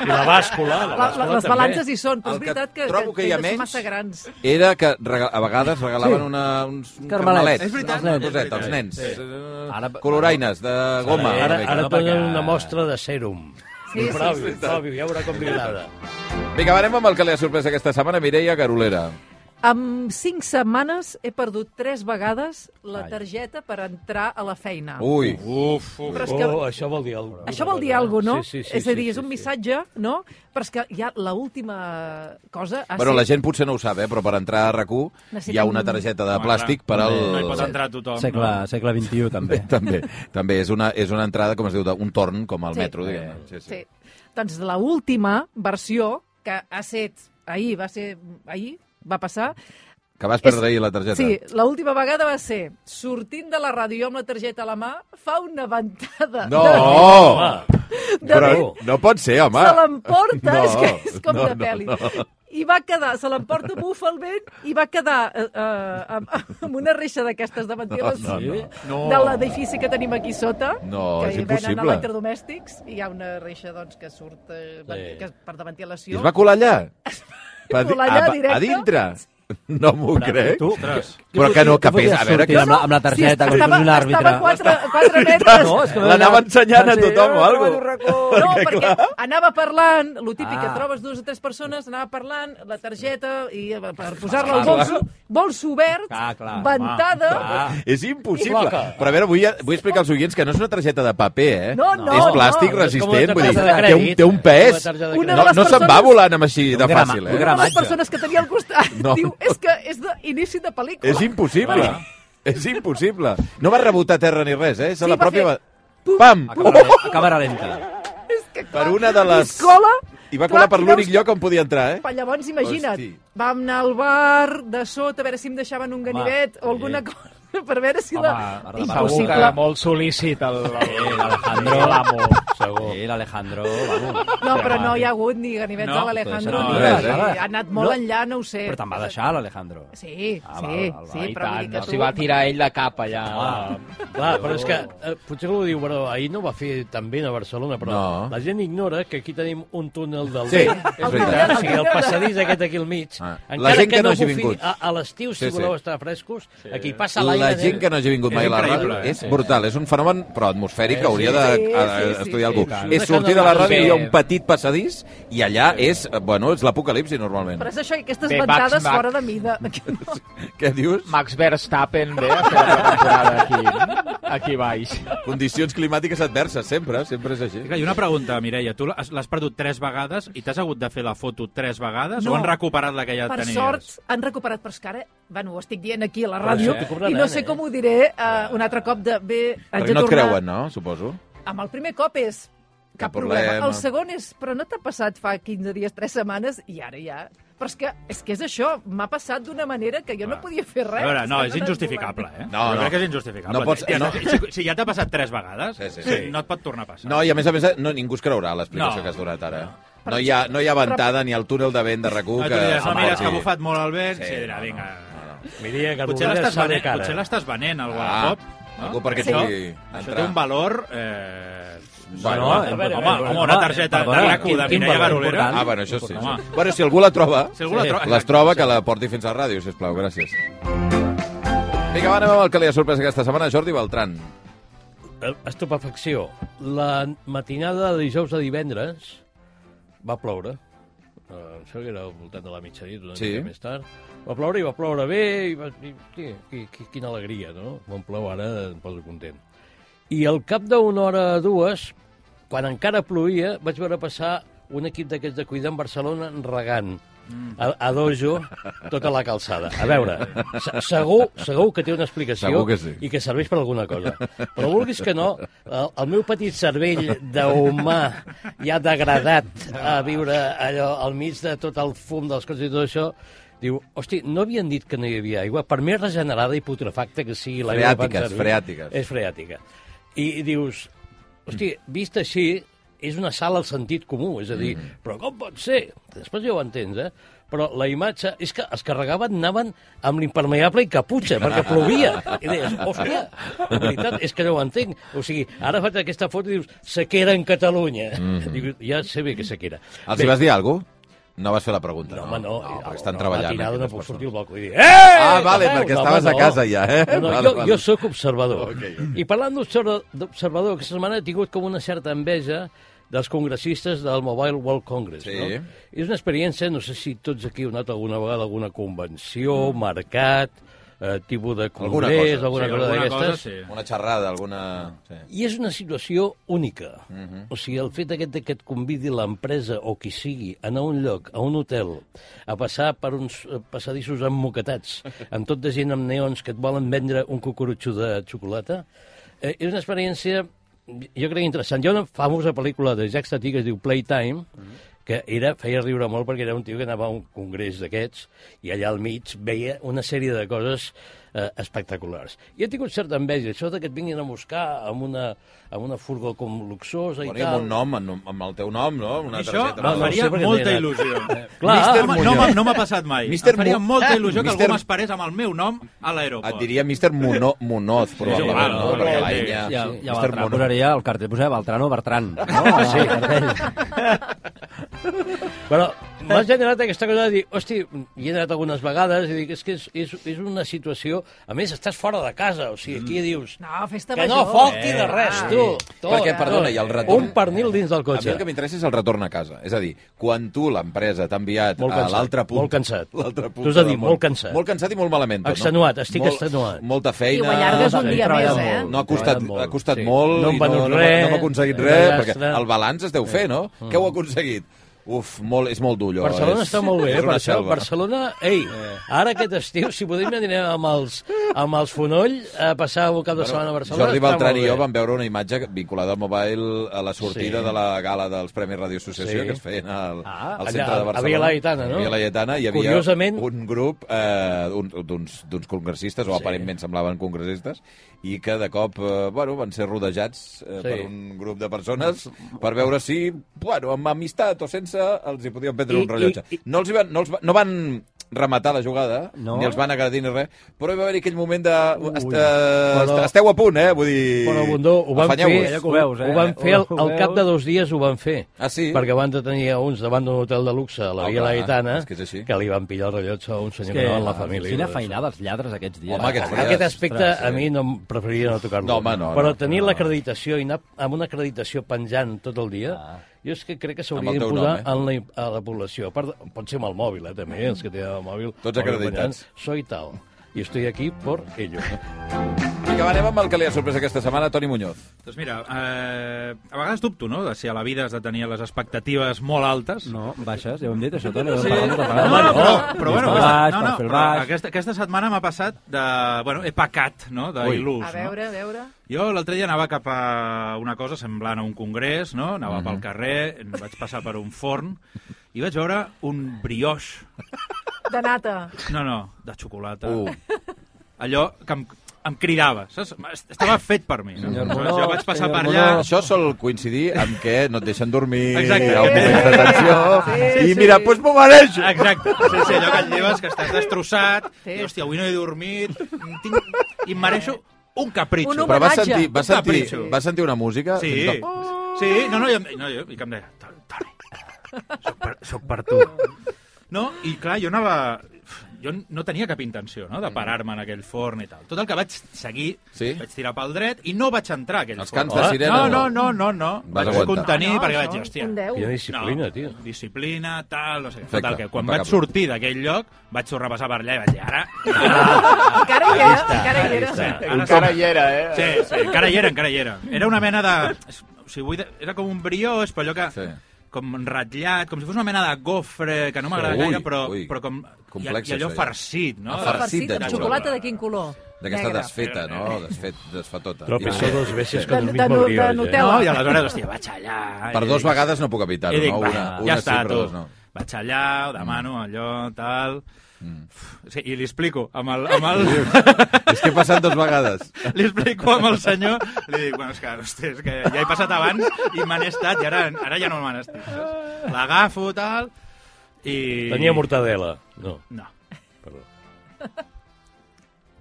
Speaker 1: I la bàscula, la
Speaker 3: La,
Speaker 1: bàscula
Speaker 3: la, les
Speaker 1: també.
Speaker 3: balances hi són, però
Speaker 2: El
Speaker 3: és
Speaker 2: que
Speaker 3: veritat que,
Speaker 2: trobo que hi ha
Speaker 3: tenen
Speaker 2: menys-
Speaker 3: massa grans.
Speaker 2: era que rega- a vegades regalaven
Speaker 7: Sí.
Speaker 2: una, uns un
Speaker 7: Carmelets.
Speaker 2: carmelet.
Speaker 7: És
Speaker 4: veritat,
Speaker 2: Els nens,
Speaker 4: és veritat.
Speaker 2: els nens.
Speaker 4: Sí.
Speaker 2: Eh,
Speaker 7: Ara-
Speaker 2: Coloraines de goma.
Speaker 1: Ara,
Speaker 2: una
Speaker 1: ara,
Speaker 2: mica.
Speaker 1: ara
Speaker 7: no,
Speaker 1: donen
Speaker 7: perquè-
Speaker 1: una mostra de sèrum.
Speaker 3: Sí, sí,
Speaker 1: provi, provi, ja veurà com li agrada.
Speaker 2: Vinga, va, anem amb el que li ha sorprès aquesta setmana, Mireia Garolera.
Speaker 3: En cinc setmanes he perdut tres vegades la targeta per entrar a la feina.
Speaker 2: Ui.
Speaker 4: uh.
Speaker 1: Uf, uf.
Speaker 3: Però és
Speaker 1: oh,
Speaker 3: que-
Speaker 1: això vol dir alguna cosa.
Speaker 3: Això vol dir alguna cosa, no?
Speaker 1: Sí, sí, sí,
Speaker 3: és a dir,
Speaker 1: sí,
Speaker 3: és un
Speaker 1: sí,
Speaker 3: missatge, no? Però és que ja l'última cosa... Ha
Speaker 2: Bueno,
Speaker 3: set-
Speaker 2: la gent potser no ho sap, eh, però per entrar a RAC1 hi ha
Speaker 3: Ah, Necessitem-
Speaker 2: una targeta de
Speaker 4: Home,
Speaker 2: plàstic per
Speaker 4: clar,
Speaker 2: al...
Speaker 4: No hi pot entrar tothom.
Speaker 6: Segle,
Speaker 4: No.
Speaker 6: segle XXI, també.
Speaker 2: també, també és una, és una entrada, com es diu, de- un torn, com al
Speaker 3: Sí.
Speaker 2: metro, diguem sí,
Speaker 3: Sí. Doncs la última versió, que ha set ahir, va ser ahir, va passar...
Speaker 2: Que vas
Speaker 3: És-
Speaker 2: perdre ahir la targeta.
Speaker 3: Sí, l'última vegada va ser, sortint de la ràdio jo amb la targeta a la mà, fa una ventada
Speaker 2: No!
Speaker 3: de,
Speaker 1: Home,
Speaker 3: de
Speaker 2: Però
Speaker 3: vent
Speaker 2: no pot ser, home!
Speaker 3: se l'emporta,
Speaker 2: No,
Speaker 3: no, és que és com
Speaker 2: no,
Speaker 3: no, de
Speaker 2: no,
Speaker 3: pel·li.
Speaker 2: no.
Speaker 3: No, no. I va quedar, se l'emporta, bufa el vent, i va quedar eh, eh, amb, amb una reixa d'aquestes davantieres
Speaker 2: No, no,
Speaker 4: no.
Speaker 3: de l'edifici que tenim aquí sota,
Speaker 2: No,
Speaker 3: que
Speaker 2: és
Speaker 3: hi
Speaker 2: impossible.
Speaker 3: venen electrodomèstics, i hi ha una reixa doncs, que surt eh,
Speaker 1: Sí.
Speaker 3: que per
Speaker 2: I
Speaker 3: davantelació.
Speaker 2: es va colar allà?
Speaker 3: Va colar allà
Speaker 2: "Ah, a, a
Speaker 3: directe?
Speaker 2: dintre? No m'ho crec.
Speaker 6: Tu,
Speaker 4: Ostres.
Speaker 2: Però que no,
Speaker 6: què
Speaker 2: que pesa,
Speaker 6: podies
Speaker 2: a veure...
Speaker 6: sortir
Speaker 2: Que...
Speaker 6: amb la, amb la targeta,
Speaker 3: sí,
Speaker 6: com si
Speaker 3: estava,
Speaker 6: fos un àrbitre.
Speaker 3: Estava a 4, 4 metres.
Speaker 6: No, és que
Speaker 2: L'anava ensenyant a tothom o alguna cosa.
Speaker 3: No, perquè anava parlant, el típic que
Speaker 6: Ah.
Speaker 3: trobes dues o tres persones, anava parlant, la targeta, i eh, per posar-la al bolso, bolso obert,
Speaker 6: Clar, clar,
Speaker 3: ventada...
Speaker 6: Ah,
Speaker 2: És impossible.
Speaker 1: Placa.
Speaker 2: Però a veure, vull, vull explicar als oients que no és una targeta de paper, eh?
Speaker 3: No, no,
Speaker 2: és plàstic
Speaker 3: no.
Speaker 1: És com
Speaker 2: resistent,
Speaker 1: una
Speaker 2: vull dir,
Speaker 1: targeta de
Speaker 2: té un, té un
Speaker 1: crèdit.
Speaker 2: pes.
Speaker 1: És una targeta de
Speaker 3: Una
Speaker 2: No,
Speaker 3: de
Speaker 2: no
Speaker 3: les
Speaker 2: se'n va
Speaker 3: persones-
Speaker 2: volant amb així de
Speaker 6: Un grama-
Speaker 2: fàcil,
Speaker 6: un
Speaker 2: eh?
Speaker 3: Una de
Speaker 6: grama-
Speaker 3: les
Speaker 6: gramatge.
Speaker 3: persones que tenia al costat
Speaker 2: No.
Speaker 3: diu, és que és d'inici de pel·lícula.
Speaker 2: És impossible.
Speaker 4: Clar.
Speaker 2: És impossible. No va rebotar a terra ni res, eh? És
Speaker 3: Sí,
Speaker 2: la
Speaker 3: va
Speaker 2: pròpia...
Speaker 3: fer
Speaker 2: va- Pam!
Speaker 6: A càmera, a càmera lenta.
Speaker 3: és que,
Speaker 2: Per una de les...
Speaker 3: es cola,
Speaker 2: I va colar
Speaker 3: clar,
Speaker 2: per
Speaker 3: i
Speaker 2: l'únic
Speaker 3: veus-
Speaker 2: lloc on podia entrar, eh?
Speaker 3: Pa, llavors, imagina't,
Speaker 2: Hosti.
Speaker 3: vam anar al bar de sota a veure si em deixaven un ganivet o
Speaker 6: sí.
Speaker 3: alguna cosa per veure si
Speaker 6: Home,
Speaker 3: la...
Speaker 6: ara de bar.
Speaker 5: Segur
Speaker 3: Impossible.
Speaker 5: que molt sol·lícit el...
Speaker 6: Eh,
Speaker 5: el...
Speaker 6: l'Alejandro, l'amo. Segur. Eh, l'Alejandro,
Speaker 2: oh,
Speaker 6: vamos.
Speaker 3: No, però no hi ha hagut ni ganivets no,
Speaker 4: No,
Speaker 3: de l'Alejandro.
Speaker 6: no,
Speaker 3: ni
Speaker 2: res,
Speaker 3: res,
Speaker 6: eh?
Speaker 3: Ha anat molt
Speaker 6: No.
Speaker 3: enllà, no ho sé.
Speaker 6: Però te'n va deixar, l'Alejandro.
Speaker 3: Sí,
Speaker 6: Ah,
Speaker 3: sí,
Speaker 6: val, val, val.
Speaker 3: sí,
Speaker 5: I
Speaker 3: però vull
Speaker 5: tant,
Speaker 3: dir que
Speaker 5: no,
Speaker 3: tu...
Speaker 5: s'hi va tirar ell de cap allà.
Speaker 6: Ah.
Speaker 1: Clar, però és que eh, potser que ho diu, però ahir no ho va fer tan bé a Barcelona, però
Speaker 2: No.
Speaker 1: la gent ignora que aquí tenim un túnel del
Speaker 2: Sí,
Speaker 1: vent.
Speaker 2: és
Speaker 1: Clar,
Speaker 2: veritat.
Speaker 1: o sigui, el passadís aquest aquí al mig,
Speaker 2: Ah. La
Speaker 1: encara
Speaker 2: gent que
Speaker 1: que
Speaker 2: no
Speaker 1: no,
Speaker 2: hagi
Speaker 1: bufi
Speaker 2: vingut.
Speaker 1: a, a l'estiu,
Speaker 2: Sí,
Speaker 1: si
Speaker 2: sí.
Speaker 1: voleu estar frescos, aquí passa l'aire...
Speaker 2: La gent
Speaker 1: de-
Speaker 2: que no hagi vingut mai a la
Speaker 4: increïble,
Speaker 2: ràdio
Speaker 4: eh?
Speaker 2: és brutal, és un fenomen però atmosfèric que hauria
Speaker 3: Sí, sí, sí,
Speaker 2: d'estudiar algú.
Speaker 1: sí, tant.
Speaker 2: És sortir de la ràdio,
Speaker 5: Bé.
Speaker 2: hi ha un petit passadís i allà és, eh, bueno, és l'apocalipsi normalment.
Speaker 3: Però és això, i aquestes
Speaker 5: Bé,
Speaker 3: Bé,
Speaker 5: Max,
Speaker 3: ventades
Speaker 5: Max.
Speaker 3: fora de mida. No.
Speaker 2: Què dius?
Speaker 5: Max Verstappen
Speaker 2: Ah,
Speaker 5: ve a fer la temporada aquí, aquí baix.
Speaker 2: Condicions climàtiques adverses, sempre, sempre és així.
Speaker 4: Clar, I una pregunta, Mireia. Tu l'has l'has perdut tres vegades i t'has hagut de fer la foto tres vegades
Speaker 3: No.
Speaker 4: o han recuperat la que ja
Speaker 3: Per
Speaker 4: tenies?
Speaker 3: sort, han recuperat, però és que ara, bueno, ho estic dient aquí a la
Speaker 1: Però
Speaker 3: ràdio,
Speaker 1: això t'ho cobraran,
Speaker 3: i no sé
Speaker 1: eh?
Speaker 3: com ho diré uh, un altre cop de... Bé, haig
Speaker 2: Perquè
Speaker 3: de
Speaker 2: no et
Speaker 3: tornar...
Speaker 2: creuen, no? Suposo.
Speaker 3: Amb el primer cop és cap,
Speaker 2: Cap
Speaker 3: problema.
Speaker 2: problema.
Speaker 3: El segon és, però no t'ha passat fa 15 dies, 3 setmanes, i ara ja... Però és que és, que és això, m'ha passat d'una manera que jo no podia fer
Speaker 4: A
Speaker 3: res.
Speaker 4: veure, no,
Speaker 3: que
Speaker 4: és
Speaker 3: t'han
Speaker 4: injustificable,
Speaker 3: volat.
Speaker 4: eh?
Speaker 2: No,
Speaker 4: Jo
Speaker 2: no.
Speaker 4: crec que és injustificable.
Speaker 2: No pots-
Speaker 4: Ja-
Speaker 2: no.
Speaker 4: Si, si ja t'ha passat tres vegades,
Speaker 2: Sí, sí, sí.
Speaker 4: no et pot tornar a passar.
Speaker 2: No, i a més a més, eh, no, ningú es creurà l'explicació
Speaker 4: No.
Speaker 2: que has donat ara. No hi, ha, no hi ha ventada ni el túnel de vent de rac
Speaker 4: No, tu
Speaker 2: que...
Speaker 4: diràs, no, mira, és que ha
Speaker 2: aguanti.
Speaker 4: bufat molt el vent, sí, dirà,
Speaker 2: no, no,
Speaker 4: vinga.
Speaker 1: Mireia
Speaker 4: Potser
Speaker 1: Garbolera
Speaker 4: l'estàs
Speaker 1: s'ha de
Speaker 4: venent,
Speaker 1: cara. eh?
Speaker 4: potser l'estàs venent, el
Speaker 2: Ah,
Speaker 4: guardacop. no?
Speaker 2: algú perquè
Speaker 4: Això-
Speaker 2: pugui
Speaker 4: Això
Speaker 2: entrar.
Speaker 4: té un valor... Eh...
Speaker 2: Bueno,
Speaker 4: home,
Speaker 1: a veure, a
Speaker 4: home,
Speaker 1: veure,
Speaker 4: home, una targeta de
Speaker 6: perdona,
Speaker 4: rac
Speaker 6: quin-
Speaker 4: de
Speaker 6: quin
Speaker 4: Mireia
Speaker 6: valor
Speaker 4: Garolera.
Speaker 6: important.
Speaker 2: Ah, bueno, això sí.
Speaker 4: Home.
Speaker 2: sí. Bueno, si algú la troba,
Speaker 4: Si algú la troba-
Speaker 2: les troba, que la porti fins a la ràdio, sisplau. Gràcies. Vinga, va, anem amb el que li ha sorprès aquesta setmana, Jordi Beltran.
Speaker 1: Eh, Estupefacció. La matinada de dijous a divendres va ploure. Eh, em sembla que era al voltant de la mitjanit, una
Speaker 2: Sí.
Speaker 1: sí. mica més tard. Va ploure i va ploure bé, i, va, i hosti, qui, qui, quina alegria, no? Quan plou ara em poso content. I al cap d'una hora o dues, quan encara ploïa, vaig veure passar un equip d'aquests de cuidar en Barcelona regant
Speaker 2: Mm.
Speaker 1: a, a dojo tota la calçada. A veure, se- segur, segur que té una explicació
Speaker 2: Segur que sí.
Speaker 1: i que serveix per alguna cosa. Però vulguis que no, el, el meu petit cervell d'humà ja degradat a viure allò al mig de tot el fum dels coses i tot això, diu, hosti, no havien dit que no hi havia aigua, per més regenerada i putrefacta que sigui l'aigua... que
Speaker 2: Freàtiques,
Speaker 1: fan servir,
Speaker 2: freàtiques.
Speaker 1: És freàtica. I, i dius, hosti, vist així, és una sala al sentit comú, és a dir, mm. però com pot ser? Després ja ho entens, eh? Però la imatge és que els que regaven anaven amb l'impermeable i caputxa, perquè plovia. I deies, hòstia, la veritat és que no ho entenc. O sigui, ara faig aquesta foto i dius, sequera en Catalunya. Mm. Dic, ja sé bé que sequera.
Speaker 2: Els hi vas dir alguna cosa? No vas fer la pregunta,
Speaker 1: No, home, no. Ah,
Speaker 2: no
Speaker 1: no
Speaker 2: perquè estan treballant.
Speaker 1: Matinada no
Speaker 2: aquestes
Speaker 1: puc
Speaker 2: persones.
Speaker 1: sortir al balcó i dir... Eh!
Speaker 2: Ah, vale,
Speaker 1: Veus?
Speaker 2: perquè
Speaker 1: No,
Speaker 2: estaves
Speaker 1: home,
Speaker 2: a casa ja, eh?
Speaker 1: No, no,
Speaker 2: Vale,
Speaker 1: jo,
Speaker 2: vale.
Speaker 1: jo sóc observador.
Speaker 2: Ok,
Speaker 1: I parlant d'observa- d'observador, aquesta setmana he tingut com una certa enveja dels congressistes del Mobile World Congress.
Speaker 2: Sí.
Speaker 1: No? És una experiència, no sé si tots aquí heu anat alguna vegada a alguna convenció, mm. mercat, eh, tipus de
Speaker 2: Alguna
Speaker 1: congrés,
Speaker 2: cosa.
Speaker 1: alguna
Speaker 4: Sí,
Speaker 1: cosa,
Speaker 4: alguna cosa,
Speaker 1: d'aquestes.
Speaker 4: sí.
Speaker 2: Una xerrada, alguna... Sí.
Speaker 1: I és una situació única. Uh -huh. O sigui, el fet aquest de que et convidi l'empresa o qui sigui a anar a un lloc, a un hotel, a passar per uns eh, passadissos emmoquetats, amb tot de gent amb neons que et volen vendre un cucurutxo de xocolata, eh, és una experiència, jo crec, interessant. Hi ha una famosa pel·lícula de Jack Stati que es diu Playtime, uh -huh
Speaker 6: Mhm.
Speaker 1: que era, feia riure molt perquè era un tio que anava a un congrés d'aquests i allà al mig veia una sèrie de coses eh, espectaculars. I he tingut certa enveja, això de que et vinguin a buscar amb una, amb una furgó com luxosa
Speaker 2: Bueno, i
Speaker 1: i
Speaker 2: amb
Speaker 1: tal.
Speaker 2: un nom, en- amb el teu nom, no? Una
Speaker 4: Això
Speaker 2: targeta.
Speaker 4: em
Speaker 1: no,
Speaker 4: faria
Speaker 1: no sé per què
Speaker 4: molta
Speaker 1: t'he anat.
Speaker 4: il·lusió.
Speaker 1: Clar,
Speaker 2: Mister
Speaker 1: home,
Speaker 4: Eh, Home, no, m'ha- no m'ha passat mai.
Speaker 2: Mister
Speaker 4: em faria
Speaker 2: Mu-
Speaker 4: molta il·lusió que
Speaker 2: Mister
Speaker 4: algú
Speaker 2: Mu-
Speaker 4: m'esperés amb el meu nom a
Speaker 2: Et
Speaker 4: l'aeroport.
Speaker 2: diria Mr. Mono, Monoz, probablement,
Speaker 4: sí,
Speaker 2: no?
Speaker 4: sí,
Speaker 2: Perquè
Speaker 4: sí,
Speaker 2: la
Speaker 4: sí.
Speaker 2: enya...
Speaker 6: Ja, ja,
Speaker 2: Mr.
Speaker 6: ja Beltran,
Speaker 2: eh? Mono.
Speaker 6: posaria el cartell, posaria Beltrán o Bertran. No, sí.
Speaker 1: Però m'ha generat aquesta cosa de dir, hosti, hi he anat algunes vegades i dic, és que és, és, és una situació... A més, estàs fora de casa, o sigui,
Speaker 2: Mm.
Speaker 1: aquí dius...
Speaker 3: No, festa
Speaker 1: Que no
Speaker 3: major.
Speaker 1: falti de res,
Speaker 3: Ah.
Speaker 1: tu! Tot,
Speaker 2: Perquè, perdona,
Speaker 1: tot.
Speaker 2: i el retorn-
Speaker 1: Un pernil dins del
Speaker 2: A mi
Speaker 1: cotxe.
Speaker 2: el que m'interessa és el retorn a casa. És a dir, quan tu, l'empresa, t'ha enviat
Speaker 1: Molt
Speaker 2: a
Speaker 1: cansat,
Speaker 2: l'altra punta...
Speaker 1: molt cansat.
Speaker 2: l'altra punta
Speaker 1: T'ho has de dir,
Speaker 2: del món.
Speaker 1: molt cansat.
Speaker 2: Molt cansat i molt malament. Tot,
Speaker 1: Extenuat, estic
Speaker 2: molt,
Speaker 1: extenuat.
Speaker 2: Molta
Speaker 3: I ho
Speaker 2: feina...
Speaker 3: allargues un
Speaker 1: no,
Speaker 3: dia
Speaker 1: no,
Speaker 3: més,
Speaker 1: no,
Speaker 3: eh?
Speaker 1: no,
Speaker 2: No ha costat,
Speaker 1: Treballen molt,
Speaker 2: ha costat
Speaker 1: sí.
Speaker 2: molt
Speaker 1: No hem
Speaker 2: i
Speaker 1: venut
Speaker 2: no, no,
Speaker 1: res, Eh.
Speaker 2: no hem aconseguit
Speaker 1: no
Speaker 2: res,
Speaker 1: gastes.
Speaker 2: perquè el balanç es deu fer, no? Què heu aconseguit? Uf, molt, és molt dur, allò.
Speaker 1: Mm. Barcelona
Speaker 2: és,
Speaker 1: està molt bé,
Speaker 2: és
Speaker 1: eh?
Speaker 2: una
Speaker 1: Barcelona,
Speaker 2: selva. Eh.
Speaker 1: Barcelona, ei, ara aquest estiu, si podem, anirem amb els, amb els fonoll a passar un cap de setmana a Barcelona.
Speaker 2: Jordi
Speaker 1: està molt
Speaker 2: Beltran i
Speaker 1: bé.
Speaker 2: jo vam veure una imatge vinculada al mobile a la sortida
Speaker 1: Sí.
Speaker 2: de la gala dels Premis Radio Associació
Speaker 1: Sí.
Speaker 2: que es feien al,
Speaker 1: Ah,
Speaker 2: al
Speaker 1: allà,
Speaker 2: centre
Speaker 1: a-
Speaker 2: de
Speaker 1: a
Speaker 2: Barcelona.
Speaker 1: Via Laietana, no?
Speaker 2: A Via Laietana hi havia
Speaker 1: Curiosament-
Speaker 2: un grup eh, un- d'uns d'uns congressistes, o aparentment semblaven congressistes, i que de cop eh, bueno, van ser rodejats eh,
Speaker 1: Sí.
Speaker 2: per un grup de persones per veure si, bueno, amb amistat o sense, els hi podien prendre
Speaker 1: I-
Speaker 2: un rellotge.
Speaker 1: i- i-
Speaker 2: No, els hi van, no, els va, no van rematar la jugada,
Speaker 6: No?
Speaker 2: ni els van agredir ni res, però hi va haver aquell moment de... Est, eh,
Speaker 1: Però-
Speaker 2: però... Esteu a punt, eh? Vull dir...
Speaker 1: Però, Bundó, ho van fer,
Speaker 2: Afanyeu-vos.
Speaker 6: allò que ho veus, eh?
Speaker 1: ho van fer al,
Speaker 6: Ho
Speaker 1: al
Speaker 6: veus.
Speaker 1: cap de dos dies ho van fer.
Speaker 2: Ah, sí?
Speaker 1: Perquè van detenir a uns davant d'un hotel de luxe a la
Speaker 2: Ah,
Speaker 1: Via
Speaker 2: clar,
Speaker 1: Laetana,
Speaker 2: és que és així.
Speaker 1: que li van pillar el rellotge a un senyor que, que anava amb la família.
Speaker 6: Quina feinada els lladres aquests dies.
Speaker 2: Home, aquests dies.
Speaker 1: Aquest aspecte
Speaker 6: Ostres,
Speaker 1: a mi no em preferiria no tocar-lo.
Speaker 2: No, home, no,
Speaker 1: Però
Speaker 2: no,
Speaker 1: tenir
Speaker 2: no.
Speaker 1: l'acreditació i anar amb una acreditació penjant tot el dia, jo és que crec que
Speaker 2: Ah. Amb
Speaker 1: s'hauria
Speaker 2: el teu
Speaker 1: d'imposar
Speaker 2: nom, eh?
Speaker 1: en la, a la població. A part, pot ser amb el mòbil, eh, també, els que tenen el mòbil.
Speaker 2: Tots
Speaker 1: mòbil
Speaker 2: acreditats.
Speaker 1: penjant, Soy tal. I estoy aquí por ello.
Speaker 2: Vinga, va, anem amb el que li ha sorprès aquesta setmana, Toni Muñoz.
Speaker 4: Doncs mira, eh, a vegades dubto, no?, de si a la vida has de tenir les expectatives molt altes.
Speaker 6: No, baixes, ja ho hem dit, això, Toni. Sí.
Speaker 4: No,
Speaker 6: No,
Speaker 4: no, però, però bueno,
Speaker 6: Baix,
Speaker 4: aquesta, no,
Speaker 6: per
Speaker 4: no,
Speaker 6: fer el
Speaker 4: però
Speaker 6: baix.
Speaker 4: aquesta, aquesta setmana m'ha passat de... Bueno, he pecat, no?,
Speaker 2: Ui.
Speaker 4: d'il·lús,
Speaker 3: A
Speaker 4: no?
Speaker 3: veure, a veure...
Speaker 4: Jo l'altre dia anava cap a una cosa semblant a un congrés, no? Anava
Speaker 2: Mhm.
Speaker 4: pel carrer, em vaig passar per un forn i vaig veure un brioche.
Speaker 3: De nata.
Speaker 4: No, no, de xocolata.
Speaker 2: Uh.
Speaker 4: Allò que em, em cridava, saps? Estava fet per mi. Saps?
Speaker 6: Senyor
Speaker 4: Aleshores,
Speaker 6: Monod,
Speaker 4: Jo vaig passar
Speaker 6: senyor
Speaker 4: per
Speaker 2: Ah.
Speaker 4: allà...
Speaker 2: Això sol coincidir amb que no et deixen dormir,
Speaker 4: Exacte.
Speaker 2: hi ha un moment de tensió,
Speaker 3: Sí,
Speaker 2: i
Speaker 3: sí.
Speaker 2: mira, doncs pues m'ho mereixo.
Speaker 4: Exacte, sí, sí, allò que et lleves, que estàs destrossat,
Speaker 3: Sí.
Speaker 4: i hòstia, avui no he dormit, tinc, i em mereixo un capritxo.
Speaker 3: Un
Speaker 2: Però va
Speaker 3: homenatge.
Speaker 2: sentir, va
Speaker 4: Un
Speaker 2: sentir,
Speaker 4: capritxo.
Speaker 2: va sentir una música? tota
Speaker 4: Sí,
Speaker 2: fins i tot-
Speaker 4: sí, no, no, jo, no, jo, i que em deia, "Toni, Toni, soc per, soc per tu. No, i clar, jo anava... Jo no tenia cap intenció, no?, de parar-me en aquell forn i tal. Tot el que vaig seguir,
Speaker 2: Mm. Sí?
Speaker 4: vaig tirar pel dret i no vaig entrar a aquell
Speaker 2: Els
Speaker 4: forn. Oh.
Speaker 2: cants de sirena,
Speaker 4: No,
Speaker 2: no.
Speaker 4: no, no, no, no.
Speaker 2: Vas
Speaker 4: Vaig
Speaker 2: aguantar.
Speaker 4: contenir
Speaker 3: No,
Speaker 4: perquè
Speaker 3: això,
Speaker 4: vaig dir, hòstia,
Speaker 3: un deu.
Speaker 1: Quina disciplina, tio.
Speaker 4: Disciplina, tal, no sé què.
Speaker 2: Perfecte,
Speaker 4: Total, que quan
Speaker 2: impecable.
Speaker 4: vaig sortir d'aquell lloc, vaig sobrepassar per allà i vaig dir, ara...
Speaker 3: Encara hi era, encara hi
Speaker 1: està.
Speaker 3: era.
Speaker 4: ara
Speaker 5: Encara hi era, eh?
Speaker 4: Sí, sí, encara hi era, encara hi era. Era una mena de... O sigui, vull de- era com un brioix, però allò que...
Speaker 2: Sí.
Speaker 4: Sí. com ratllat, com si fos una mena de gofre, que no m'agrada
Speaker 2: Ui,
Speaker 4: gaire, però,
Speaker 2: ui.
Speaker 4: però com...
Speaker 2: Complex,
Speaker 4: I, i allò
Speaker 2: això, ja.
Speaker 4: farcit, no?
Speaker 2: Ah, farcit
Speaker 3: Farcit
Speaker 2: de
Speaker 3: amb
Speaker 2: xocolata.
Speaker 3: xocolata de quin color?
Speaker 2: D'aquesta
Speaker 3: Negra.
Speaker 2: desfeta, no? Desfet, tota. desfetota.
Speaker 1: Tropezó dos veces
Speaker 3: De-
Speaker 1: con el
Speaker 3: de
Speaker 1: mismo
Speaker 3: nu- de
Speaker 1: brioche. Eh?
Speaker 3: Nutella.
Speaker 4: No, i aleshores, hòstia, vaig allà...
Speaker 2: Per
Speaker 4: i
Speaker 2: dos
Speaker 4: dic,
Speaker 2: vegades no puc evitar-ho,
Speaker 4: I dic,
Speaker 2: no?
Speaker 4: va,
Speaker 2: Una, una
Speaker 4: ja està,
Speaker 2: sí, però
Speaker 4: tu.
Speaker 2: dos no. Mm.
Speaker 4: Vaig allà, ho demano, allò, tal... Mm. Sí, I li explico, amb el... Amb el...
Speaker 2: És que he passat dos vegades.
Speaker 4: li explico amb el senyor, li dic, bueno, és que, hosti, és que ja he passat abans i me n'he estat i ara, ara ja no me n'estic. saps? L'agafo, tal, i...
Speaker 1: Tenia mortadela. No.
Speaker 4: No,
Speaker 1: Perdó.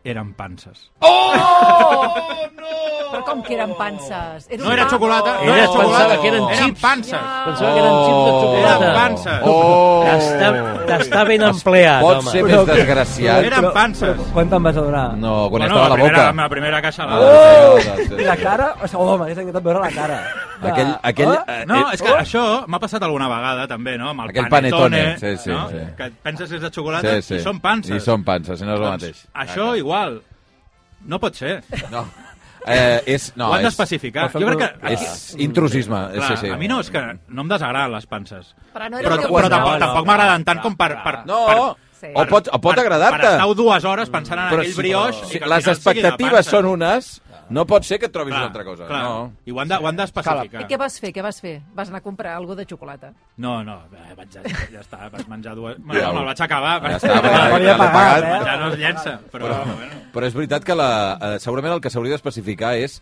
Speaker 4: eren panses.
Speaker 3: Però com que eren panses? Era
Speaker 4: No
Speaker 3: un
Speaker 4: era
Speaker 3: pa-
Speaker 4: xocolata, no
Speaker 1: Ella
Speaker 4: era
Speaker 1: es
Speaker 4: xocolata.
Speaker 1: pensava que eren
Speaker 4: Eren
Speaker 1: xips.
Speaker 4: panses.
Speaker 1: Pensava que eren xips de xocolata.
Speaker 4: Eren panses.
Speaker 2: Oh!
Speaker 1: T'està t'està ben empleat,
Speaker 2: Pot
Speaker 1: home.
Speaker 2: ser
Speaker 6: Però
Speaker 2: més
Speaker 6: que-
Speaker 2: desgraciat.
Speaker 4: Eren panses.
Speaker 6: Quan te'n vas adonar?
Speaker 2: No, quan
Speaker 4: Bueno,
Speaker 2: estava a la
Speaker 4: primera,
Speaker 2: boca. Ah.
Speaker 4: Amb la primera caixa a la...
Speaker 2: Oh!
Speaker 6: I la cara? O sigui, home, m'hagués encantat veure la cara.
Speaker 2: Aquell, aquell,
Speaker 6: Oh.
Speaker 2: eh,
Speaker 4: No,
Speaker 2: eh,
Speaker 4: és que oh. això m'ha passat alguna vegada, també, no? Amb el
Speaker 2: Aquell
Speaker 4: panetone,
Speaker 2: panetone, sí, sí,
Speaker 4: no?
Speaker 2: sí.
Speaker 4: que penses que és de xocolata sí, sí. i són panses.
Speaker 2: I són panses, i no és el
Speaker 4: Doncs
Speaker 2: mateix.
Speaker 4: Això igual, no pot ser.
Speaker 2: No. Eh, és, no,
Speaker 4: No, Ho han
Speaker 2: és,
Speaker 4: d'especificar.
Speaker 6: Però
Speaker 4: Jo crec que... Ah,
Speaker 2: és intrusisme. eh,
Speaker 4: clar,
Speaker 2: sí, sí.
Speaker 4: a mi no, és que no em desagraden les panses.
Speaker 3: Però no era
Speaker 4: Però,
Speaker 3: el que
Speaker 4: però
Speaker 3: pensava.
Speaker 4: tampoc,
Speaker 6: no,
Speaker 4: tampoc
Speaker 6: clar,
Speaker 4: m'agraden tant com per... per
Speaker 2: No,
Speaker 4: per,
Speaker 3: Sí.
Speaker 2: o pot, o pot
Speaker 4: per- Per
Speaker 2: agradar-te.
Speaker 4: estar dues hores pensant en
Speaker 2: Però
Speaker 4: aquell
Speaker 2: si-
Speaker 4: brioix...
Speaker 2: si
Speaker 4: i que al
Speaker 2: les
Speaker 4: final sigui de
Speaker 2: expectatives
Speaker 4: panses.
Speaker 2: són unes, no pot ser que et trobis
Speaker 4: Clar,
Speaker 2: una altra cosa.
Speaker 4: Clar.
Speaker 2: No.
Speaker 4: I ho han de- ho han d'especificar.
Speaker 3: I què vas fer? Què vas fer? Vas anar a comprar alguna de xocolata.
Speaker 4: No, no, eh, vaig, ja, ja està, vaig menjar dues... Bueno,
Speaker 2: Ja ho-
Speaker 4: me'l vaig acabar.
Speaker 2: Ja està, perquè ja
Speaker 6: Hauria
Speaker 2: l'he
Speaker 6: pagat,
Speaker 2: pagat.
Speaker 6: eh?
Speaker 4: Ja no es llença, però... però... Bueno.
Speaker 2: Però és veritat que la, eh, segurament el que s'hauria d'especificar és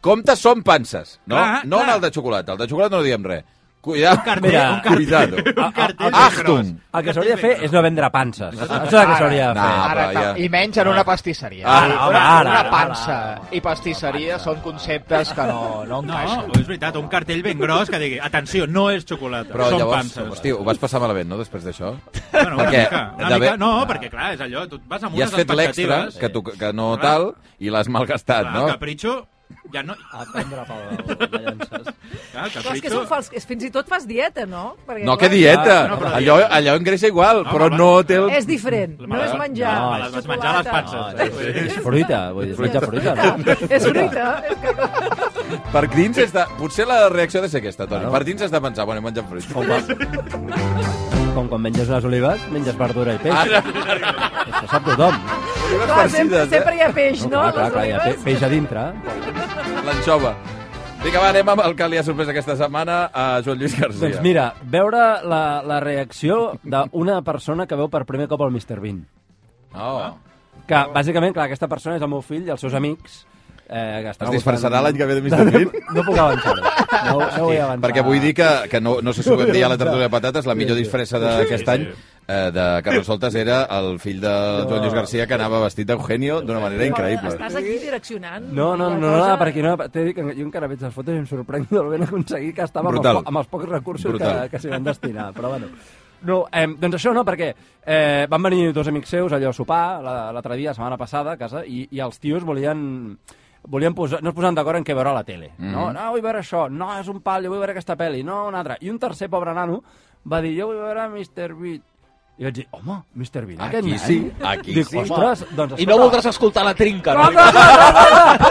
Speaker 2: comptes són panses, no?
Speaker 4: Clar,
Speaker 2: no
Speaker 4: clar.
Speaker 2: en el de xocolata. El de xocolata no diem res. Cuidado,
Speaker 4: cartell, un cartell.
Speaker 2: cuidado.
Speaker 4: Un cartell ben
Speaker 2: Achtung!
Speaker 4: gros.
Speaker 6: El que s'hauria de fer és no vendre panses. Això és el que s'hauria de fer.
Speaker 2: Ah,
Speaker 5: Ara,
Speaker 2: però
Speaker 5: tal.
Speaker 2: ja.
Speaker 5: I menys en una pastisseria.
Speaker 2: Ah,
Speaker 5: Una-
Speaker 6: home, ara,
Speaker 5: una
Speaker 6: ara,
Speaker 5: pansa
Speaker 6: ara.
Speaker 5: i pastisseria són conceptes que no, no
Speaker 4: No,
Speaker 5: encaixen.
Speaker 4: és veritat, un cartell ben gros que digui, atenció, no és xocolata,
Speaker 2: Però
Speaker 4: són
Speaker 2: llavors,
Speaker 4: panses.
Speaker 2: hosti, ho vas passar malament, no?, després d'això.
Speaker 4: bueno, una
Speaker 2: perquè
Speaker 4: mica, una
Speaker 2: d'haver-
Speaker 4: mica, no, perquè clar, és allò, tu et vas amb
Speaker 2: I
Speaker 4: unes
Speaker 2: has fet l'extra,
Speaker 4: expectatives.
Speaker 2: que, tu, que no
Speaker 4: Clar.
Speaker 2: tal, i l'has malgastat,
Speaker 4: clar,
Speaker 2: no?
Speaker 4: Capritxo, ja no...
Speaker 3: Ah,
Speaker 6: A prendre pel de llances.
Speaker 4: Clar, capritxo...
Speaker 3: Clar, és que és un fals... És, fins i tot fas dieta, no? Perquè,
Speaker 2: No,
Speaker 3: clar,
Speaker 2: que dieta!
Speaker 4: no, però-
Speaker 2: Allò, allò engreix igual,
Speaker 4: No,
Speaker 2: però
Speaker 4: però-
Speaker 2: no té el...
Speaker 3: És diferent. No és menjar.
Speaker 4: No,
Speaker 3: és
Speaker 4: les Ah, vas menjar a les
Speaker 3: xocolata. Ah,
Speaker 4: panses.
Speaker 6: No, és, és fruita, vull dir, fruita, fruita. No?
Speaker 3: És fruita. És que...
Speaker 6: Eh.
Speaker 2: Per dins és de... Potser la reacció ha de ser aquesta, Toni. Per dins has de pensar, bueno, he menjat fruit.
Speaker 6: Com, quan- com quan menges les olives, menges verdura i peix.
Speaker 3: Ah.
Speaker 2: Ara,
Speaker 6: Això sap tothom.
Speaker 2: olives
Speaker 3: Clar, sempre,
Speaker 2: farcides,
Speaker 3: sempre hi ha peix, no?
Speaker 6: eh? clar, clar, clar, hi ha
Speaker 3: Les
Speaker 6: pe-
Speaker 3: olives.
Speaker 6: peix a dintre.
Speaker 2: eh? L'anxova. Vinga, va, anem amb el que li ha sorprès aquesta setmana a Joan Lluís García.
Speaker 6: Doncs mira, veure la, la reacció d'una persona que veu per primer cop el Mr. Bean.
Speaker 4: Ah.
Speaker 2: Oh.
Speaker 6: Que, bàsicament, clar, aquesta persona és el meu fill i els seus amics. Eh, que estan
Speaker 2: Es disfressarà
Speaker 6: al
Speaker 2: l'any que
Speaker 6: voltant-
Speaker 2: ve de Mr. Bean?
Speaker 6: No puc avançar. No, no vull avançar.
Speaker 2: Perquè vull dir que, que no, no sé si ho vam dir a la tertúlia de patates, la millor disfressa d'aquest any eh, de Carresoltes era el fill de Joan Lluís Garcia que anava vestit d'Eugenio d'una manera increïble.
Speaker 3: Estàs aquí direccionant.
Speaker 6: No, no,
Speaker 3: la
Speaker 6: no, no,
Speaker 3: cosa.
Speaker 6: no perquè no, t'he dit que jo encara veig les fotos i em sorprèn del ben aconseguit que estava amb els,
Speaker 2: Brutal.
Speaker 6: po- amb els pocs recursos
Speaker 2: Brutal.
Speaker 6: que, que s'hi van destinar, però bueno. No, eh, doncs això no, perquè eh, van venir dos amics seus allò a sopar la- l'altre dia, la setmana passada, a casa, i, i els tios volien volien posar, no es posaven d'acord en què veure a la tele. Mm -hmm.
Speaker 2: Mhm.
Speaker 6: No, no, vull veure això, no, és un pal, jo vull veure aquesta pel·li, no, una altra. I un tercer pobre nano va dir, jo vull veure Mr. Beat. I vaig dir, home, Mr. Beat, aquest
Speaker 2: Aquí
Speaker 6: nen?
Speaker 2: sí, aquí
Speaker 6: Dic,
Speaker 2: sí.
Speaker 6: ostres, doncs
Speaker 5: I no
Speaker 6: escolta,
Speaker 5: voldràs escoltar la trinca,
Speaker 6: no,
Speaker 5: no?
Speaker 6: no, no, no, no.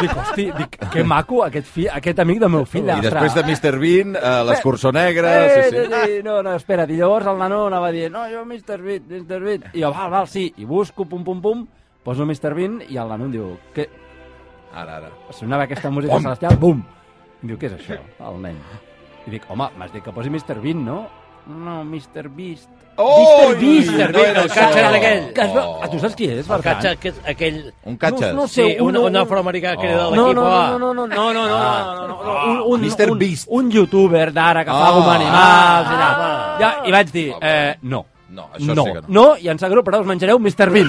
Speaker 6: Dic, hosti, dic, que maco aquest, fi, aquest amic del meu fill.
Speaker 2: I després de Mr. Bean, eh, l'escurçó negre...
Speaker 6: Eh,
Speaker 2: Sí, sí.
Speaker 6: No, no, espera't. I llavors el nano anava dient, no, jo Mr. Bean, Mr. Bean. I jo, val, val, sí. I busco, pum, pum, pum, poso Mr. Bean i el nano em diu, que eh.
Speaker 2: Ara, ara.
Speaker 6: sonava aquesta música celestial, bum. Em diu, què és això, el nen? I dic, home, m'has dit que posi Mr. Bean, no? No, Mr. Beast.
Speaker 2: Oi,
Speaker 6: Mr. Beast,
Speaker 2: no
Speaker 6: Mr. Beast,
Speaker 2: era
Speaker 6: el
Speaker 2: això.
Speaker 6: catxer
Speaker 1: aquell.
Speaker 6: Que es va...
Speaker 2: Oh.
Speaker 6: Ah, tu saps qui és,
Speaker 1: El
Speaker 6: Bertran?
Speaker 1: catxa, aquest, aquell...
Speaker 2: Un catxes.
Speaker 6: No, no
Speaker 1: Sí,
Speaker 6: sé,
Speaker 1: un,
Speaker 6: un-
Speaker 1: un afroamericà
Speaker 2: Oh.
Speaker 1: que era de
Speaker 6: No,
Speaker 1: l'equip A.
Speaker 6: no, no, no, no, no, no, no,
Speaker 2: Ah.
Speaker 6: no, no, no, no, un, un,
Speaker 2: Mr.
Speaker 6: un,
Speaker 2: Beast.
Speaker 6: un youtuber d'ara que fa
Speaker 2: Ah.
Speaker 6: gom animals i tal.
Speaker 3: Ah.
Speaker 6: Ja, I vaig dir,
Speaker 2: Ah, va.
Speaker 6: eh, no.
Speaker 2: No, això
Speaker 6: no.
Speaker 2: sí que no.
Speaker 6: No, i em sap greu, però us menjareu Mr. Bean.